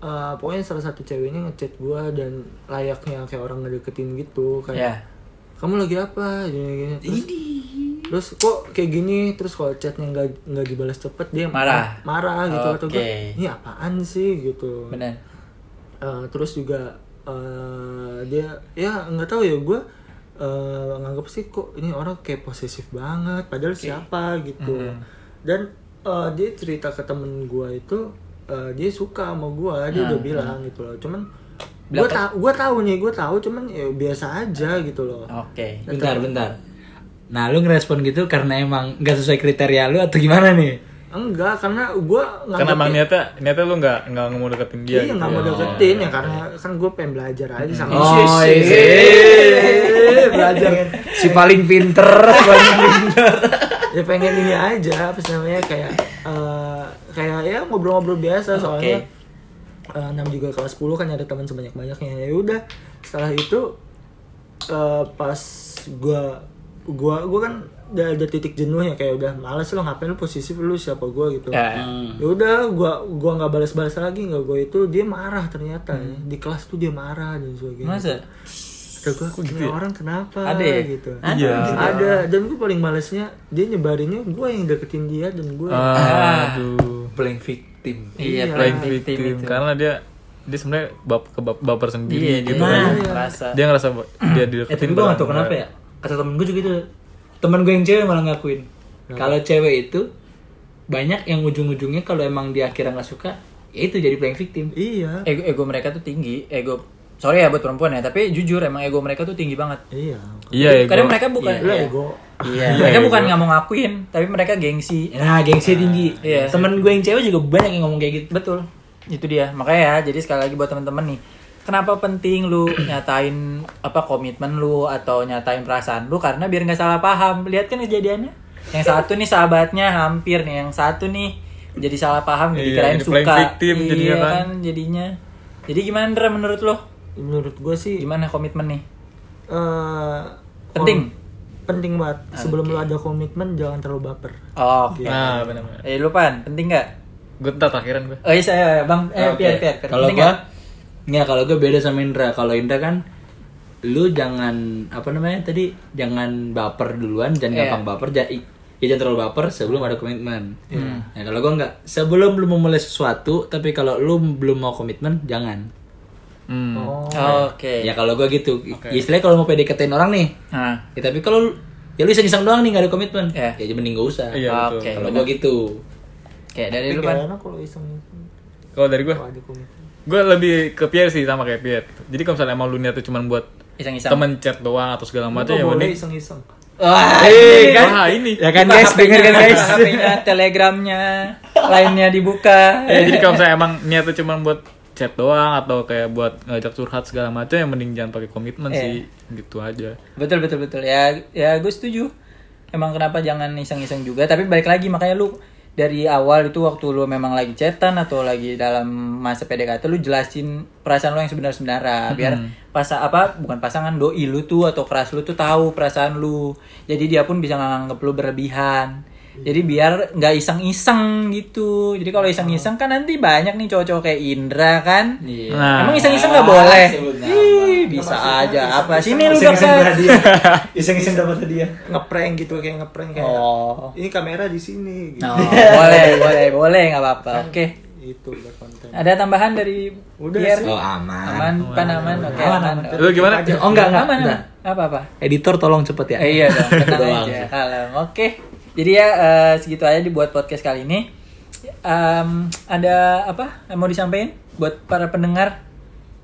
[SPEAKER 3] eh, pokoknya salah satu ceweknya ngechat gua dan layaknya kayak orang ngedeketin gitu kayak
[SPEAKER 2] ya.
[SPEAKER 3] kamu lagi apa gini, gini. terus terus kok kayak gini terus kalau chatnya nggak nggak dibalas cepet dia
[SPEAKER 2] Marah.
[SPEAKER 3] marah gitu atau
[SPEAKER 2] Oke.
[SPEAKER 3] gue ini apaan sih gitu
[SPEAKER 2] Benar.
[SPEAKER 3] Eh, terus juga eh, dia ya nggak tahu ya gue eh, nganggap sih kok ini orang kayak posesif banget padahal siapa gitu dan eh, dia cerita ke temen gue itu eh, dia suka sama gue dia udah bilang gitu loh cuman gue tau gue tahu nih gue tahu cuman ya biasa aja gitu loh
[SPEAKER 1] Oh.
[SPEAKER 2] Oke.
[SPEAKER 5] Bentar, bentar. Nah, lu ngerespon gitu karena emang nggak sesuai kriteria lu atau gimana nih?
[SPEAKER 3] Enggak, karena gue
[SPEAKER 1] Karena emang niatnya niatnya lu nggak nggak mau deketin dia.
[SPEAKER 3] Iya
[SPEAKER 1] gitu. iya.
[SPEAKER 3] nggak mau deketin ya karena kan gue pengen belajar aja sama
[SPEAKER 5] Oh, iya. Eh, Belajar si paling pinter, paling pinter.
[SPEAKER 3] ya pengen ini aja apa sih namanya kayak eh, kayak ya ngobrol-ngobrol biasa soalnya eh, enam juga kelas 10 kan ada teman sebanyak banyaknya ya udah setelah itu eh, pas gua gua gua kan udah ada titik jenuhnya kayak udah males lo ngapain lu posisi lu siapa gua gitu
[SPEAKER 2] Ya.
[SPEAKER 3] ya udah gua gua nggak balas-balas lagi nggak gua itu dia marah ternyata ya. di kelas tuh dia marah dan sebagainya
[SPEAKER 2] Hmm. Masa?
[SPEAKER 3] kata gua "Ini orang
[SPEAKER 2] gitu
[SPEAKER 3] kenapa
[SPEAKER 2] Ada ya?
[SPEAKER 3] gitu
[SPEAKER 2] Ada.
[SPEAKER 1] Iya.
[SPEAKER 3] ada dan gua paling malesnya dia nyebarinnya gua yang deketin dia dan gua
[SPEAKER 1] Ah,
[SPEAKER 2] Ah.
[SPEAKER 1] Aduh.
[SPEAKER 5] Playing victim.
[SPEAKER 1] Playing
[SPEAKER 2] Iya, playing victim
[SPEAKER 1] victim
[SPEAKER 2] itu.
[SPEAKER 1] karena dia dia sebenarnya bap, kebap- baper sendiri gitu
[SPEAKER 2] nah,
[SPEAKER 1] kan.
[SPEAKER 2] Rasa.
[SPEAKER 1] Dia ngerasa ba- dia
[SPEAKER 5] Eh tapi
[SPEAKER 1] dideketin
[SPEAKER 5] gue gak
[SPEAKER 1] padahal
[SPEAKER 5] tau kenapa
[SPEAKER 1] enggak.
[SPEAKER 5] ya Kata temen gue juga gitu Temen gue yang cewek malah ngakuin Kalau cewek itu Banyak yang ujung-ujungnya kalau emang dia akhirnya gak suka Ya itu jadi playing victim
[SPEAKER 3] iya
[SPEAKER 2] Ego, ego mereka tuh tinggi. Ego sorry ya buat perempuan ya, tapi jujur emang ego mereka tuh tinggi banget.
[SPEAKER 3] iya
[SPEAKER 1] Iya, ya,
[SPEAKER 2] Kadang
[SPEAKER 1] gua-
[SPEAKER 2] mereka bukan
[SPEAKER 3] Lu
[SPEAKER 2] iya.
[SPEAKER 3] ego
[SPEAKER 2] Iya, mereka
[SPEAKER 1] Iya,
[SPEAKER 2] bukan
[SPEAKER 1] ego.
[SPEAKER 2] nggak mau ngakuin, tapi mereka gengsi.
[SPEAKER 5] Nah gengsi tinggi
[SPEAKER 2] Iya.
[SPEAKER 5] Temen gue yang cewek juga banyak yang ngomong kayak gitu
[SPEAKER 2] Betul. Itu dia. Makanya ya, jadi sekali lagi buat temen-temen nih. Kenapa penting lu nyatain apa komitmen lu atau nyatain perasaan lu karena biar nggak salah paham. Lihat kan kejadiannya. Yang satu nih sahabatnya hampir nih, yang satu nih jadi salah paham jadi
[SPEAKER 1] Iya,
[SPEAKER 2] kirain
[SPEAKER 1] jadi
[SPEAKER 2] suka.
[SPEAKER 1] playing victim
[SPEAKER 2] iya,
[SPEAKER 1] jadinya
[SPEAKER 2] kan?
[SPEAKER 1] kan.
[SPEAKER 2] jadinya. Jadi gimana Dra, menurut lo?
[SPEAKER 3] menurut gua sih
[SPEAKER 2] Gimana komitmen nih?
[SPEAKER 3] eh,
[SPEAKER 2] Penting. Ah,
[SPEAKER 3] kom- penting banget sebelum lu ada komitmen jangan terlalu baper
[SPEAKER 2] Oh, Oke.
[SPEAKER 1] Nah, benar-benar.
[SPEAKER 2] Eh lu Pan, penting nggak?
[SPEAKER 1] Gue ntar terakhiran gue.
[SPEAKER 2] Oh iya saya Bang eh
[SPEAKER 5] Oke.
[SPEAKER 2] Pian Pian. Pian.
[SPEAKER 5] Kalau
[SPEAKER 2] Penting
[SPEAKER 5] gue
[SPEAKER 2] nggak?
[SPEAKER 5] Nggak kalau gue beda sama Indra Kalau Indra kan Lu jangan Apa namanya tadi Jangan baper duluan Jangan
[SPEAKER 2] Iya.
[SPEAKER 5] gampang baper ja- i- Ya jangan terlalu baper sebelum ada komitmen
[SPEAKER 2] Iya.
[SPEAKER 5] Nah kalau gue nggak Sebelum lu memulai sesuatu Tapi kalau lu belum mau komitmen Jangan
[SPEAKER 1] Hmm.
[SPEAKER 3] Oh.
[SPEAKER 2] Oke.
[SPEAKER 1] Iya.
[SPEAKER 5] Ya kalau gue gitu, istilahnya kalau mau PDKT-in orang nih,
[SPEAKER 2] Nah,
[SPEAKER 5] ya tapi kalau ya lu iseng-iseng doang nih gak ada komitmen,
[SPEAKER 2] Iya.
[SPEAKER 5] ya mending gak usah.
[SPEAKER 1] Iya, betul.
[SPEAKER 2] Oke.
[SPEAKER 5] Kalau gue gitu,
[SPEAKER 2] kayak dari
[SPEAKER 3] Tapi
[SPEAKER 2] lu Pan.
[SPEAKER 3] gak enak kalau iseng
[SPEAKER 1] Kalau dari gue,
[SPEAKER 3] kalau ada komitmen
[SPEAKER 1] gue lebih ke Pierre sih sama kayak Pierre. gitu. Jadi kalau misalnya emang lu niatnya cuma buat
[SPEAKER 2] Iseng-iseng.
[SPEAKER 1] temen chat doang atau segala
[SPEAKER 3] Lu
[SPEAKER 1] macam
[SPEAKER 3] nggak
[SPEAKER 1] ya
[SPEAKER 3] boleh
[SPEAKER 1] mending
[SPEAKER 3] iseng-iseng
[SPEAKER 2] Wah,
[SPEAKER 1] Eh, wah ini.
[SPEAKER 4] Ya kan guys, denger kan guys.
[SPEAKER 2] HP-nya, telegramnya, lainnya dibuka.
[SPEAKER 1] Ya, jadi kalau misalnya emang niatnya cuma buat chat doang atau kayak buat ngajak curhat segala macam yang mending jangan pakai komitmen
[SPEAKER 2] Iya.
[SPEAKER 1] sih gitu aja.
[SPEAKER 2] Betul betul betul. Ya ya gue setuju. Emang kenapa jangan iseng-iseng juga? Tapi balik lagi makanya lu dari awal itu waktu lu memang lagi chatan atau lagi dalam masa PDKT lu jelasin perasaan lu yang sebenar-sebenarnya biar pas apa bukan pasangan doi lu tuh atau keras lu tuh tahu perasaan lu. Jadi dia pun bisa nganggep lu berlebihan. Jadi biar nggak iseng-iseng gitu. Jadi kalau iseng-iseng kan nanti banyak nih cowok-cowok kayak Indra kan.
[SPEAKER 1] Nah.
[SPEAKER 2] Emang iseng-iseng nggak
[SPEAKER 5] Ah,
[SPEAKER 2] boleh.
[SPEAKER 5] sebut nama.
[SPEAKER 2] Ih, bisa aja apa sini lu dapat.
[SPEAKER 3] iseng-iseng dapat hadiah ngeprank gitu kayak ngeprank kayak
[SPEAKER 2] Oh. Nah.
[SPEAKER 3] ini kamera di sini gitu.
[SPEAKER 2] No, Oh, boleh, boleh, boleh nggak apa-apa. Oke.
[SPEAKER 3] itu buat konten
[SPEAKER 2] Ada tambahan dari
[SPEAKER 3] Udah
[SPEAKER 2] Pierre?
[SPEAKER 5] oh aman.
[SPEAKER 2] Aman, pan aman, oke. aman.
[SPEAKER 1] Lu gimana?
[SPEAKER 5] Oh enggak enggak.
[SPEAKER 2] Aman,
[SPEAKER 5] enggak.
[SPEAKER 2] aman. Apa-apa?
[SPEAKER 5] Editor tolong cepet ya.
[SPEAKER 2] Eh, iya dong, tenang
[SPEAKER 5] Doang.
[SPEAKER 2] aja. Kalem. Oke. Jadi ya eh, segitu aja dibuat podcast kali ini. Em, ada apa yang mau disampaikan buat para pendengar?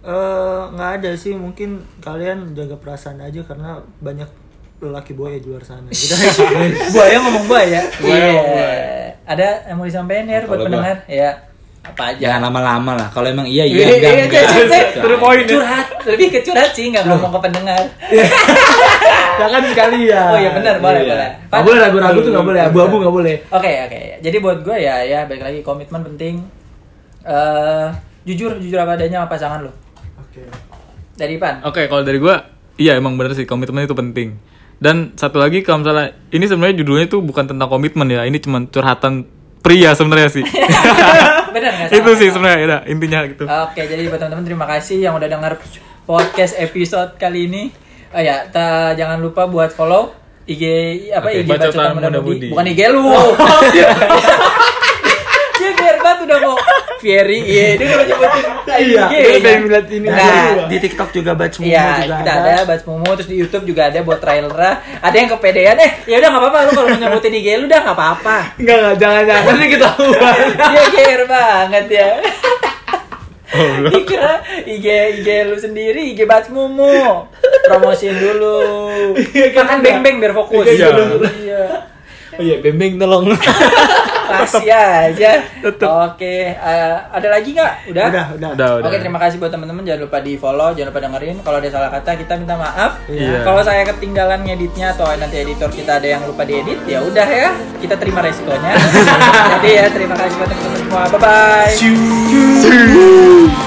[SPEAKER 3] Eh, nggak ada sih mungkin kalian jaga perasaan aja karena banyak lelaki buaya di luar sana Gitu.
[SPEAKER 2] buaya ngomong buaya. Iya. Ada yang mau disampaikan ya buat pendengar? Ya. Apa aja?
[SPEAKER 5] Jangan lama-lama lah. Kalau emang iya
[SPEAKER 2] Iya,
[SPEAKER 5] iya
[SPEAKER 2] iya,
[SPEAKER 5] enggak enggak.
[SPEAKER 2] iya, iya, iya.
[SPEAKER 5] Enggak.
[SPEAKER 1] Terus poin ya.
[SPEAKER 2] Curhat, lebih ke curhat sih, nggak ngomong ke pendengar.
[SPEAKER 3] kan
[SPEAKER 5] Jangan sekali ya.
[SPEAKER 2] Oh iya, benar, boleh,
[SPEAKER 5] Iya.
[SPEAKER 2] boleh.
[SPEAKER 5] Nggak boleh ragu-ragu tuh nggak boleh. Abu-abu nggak boleh.
[SPEAKER 2] Oke oke. Jadi buat gue ya ya balik lagi komitmen penting. eh jujur jujur apa adanya sama pasangan lo.
[SPEAKER 3] Oke.
[SPEAKER 2] Dari Pan.
[SPEAKER 1] Oke, kalau dari gua iya emang bener sih komitmen itu penting. Dan satu lagi kalau misalnya ini sebenarnya judulnya itu bukan tentang komitmen ya, ini cuma curhatan pria sebenarnya sih.
[SPEAKER 2] Iya, Bener nggak?
[SPEAKER 1] itu
[SPEAKER 2] salah?
[SPEAKER 1] sih sebenarnya ya, intinya gitu.
[SPEAKER 2] Oke jadi buat teman-teman terima kasih yang udah dengar podcast episode kali ini. Oh ya ta- jangan lupa buat follow IG apa
[SPEAKER 1] Oke,
[SPEAKER 2] IG
[SPEAKER 1] Bacotan
[SPEAKER 2] Bacotan
[SPEAKER 1] Muda
[SPEAKER 2] Muda Mudi.
[SPEAKER 1] Mudi.
[SPEAKER 2] Bukan IG lu.
[SPEAKER 4] Oh.
[SPEAKER 2] Dia biar banget udah mau Fieri, iya, dia udah nyebutin
[SPEAKER 4] Iya,
[SPEAKER 2] IG,
[SPEAKER 4] dia
[SPEAKER 2] ya.
[SPEAKER 4] pengen lihat ini.
[SPEAKER 2] Nah,
[SPEAKER 3] di TikTok juga baca
[SPEAKER 2] Iya,
[SPEAKER 3] juga
[SPEAKER 2] kita ada, Bats Momo, terus di YouTube juga ada buat trailer. Ada yang kepedean, eh ya udah nggak apa-apa lu kalau mau nyebutin IG lu udah nggak apa-apa.
[SPEAKER 4] Enggak enggak jangan jangan. Nanti kita
[SPEAKER 2] Dia gear banget ya. Dikira IG IG lu sendiri, IG Bats Momo. Promosiin dulu. Makan beng-beng biar fokus.
[SPEAKER 1] Iya.
[SPEAKER 2] Iya.
[SPEAKER 4] Oh iya, bembeng tolong.
[SPEAKER 2] Kasih aja. Oke, eh, ada lagi nggak? Udah.
[SPEAKER 3] udah udah
[SPEAKER 1] Udah, udah.
[SPEAKER 2] Oke, terima kasih buat teman-teman. Jangan lupa di follow, jangan lupa dengerin. Kalau ada salah kata, kita minta maaf.
[SPEAKER 1] Iya.
[SPEAKER 2] Kalau saya ketinggalan ngeditnya atau nanti editor kita ada yang lupa diedit, ya udah ya. Kita terima resikonya. Jadi ya, terima kasih buat teman-teman semua. Bye bye.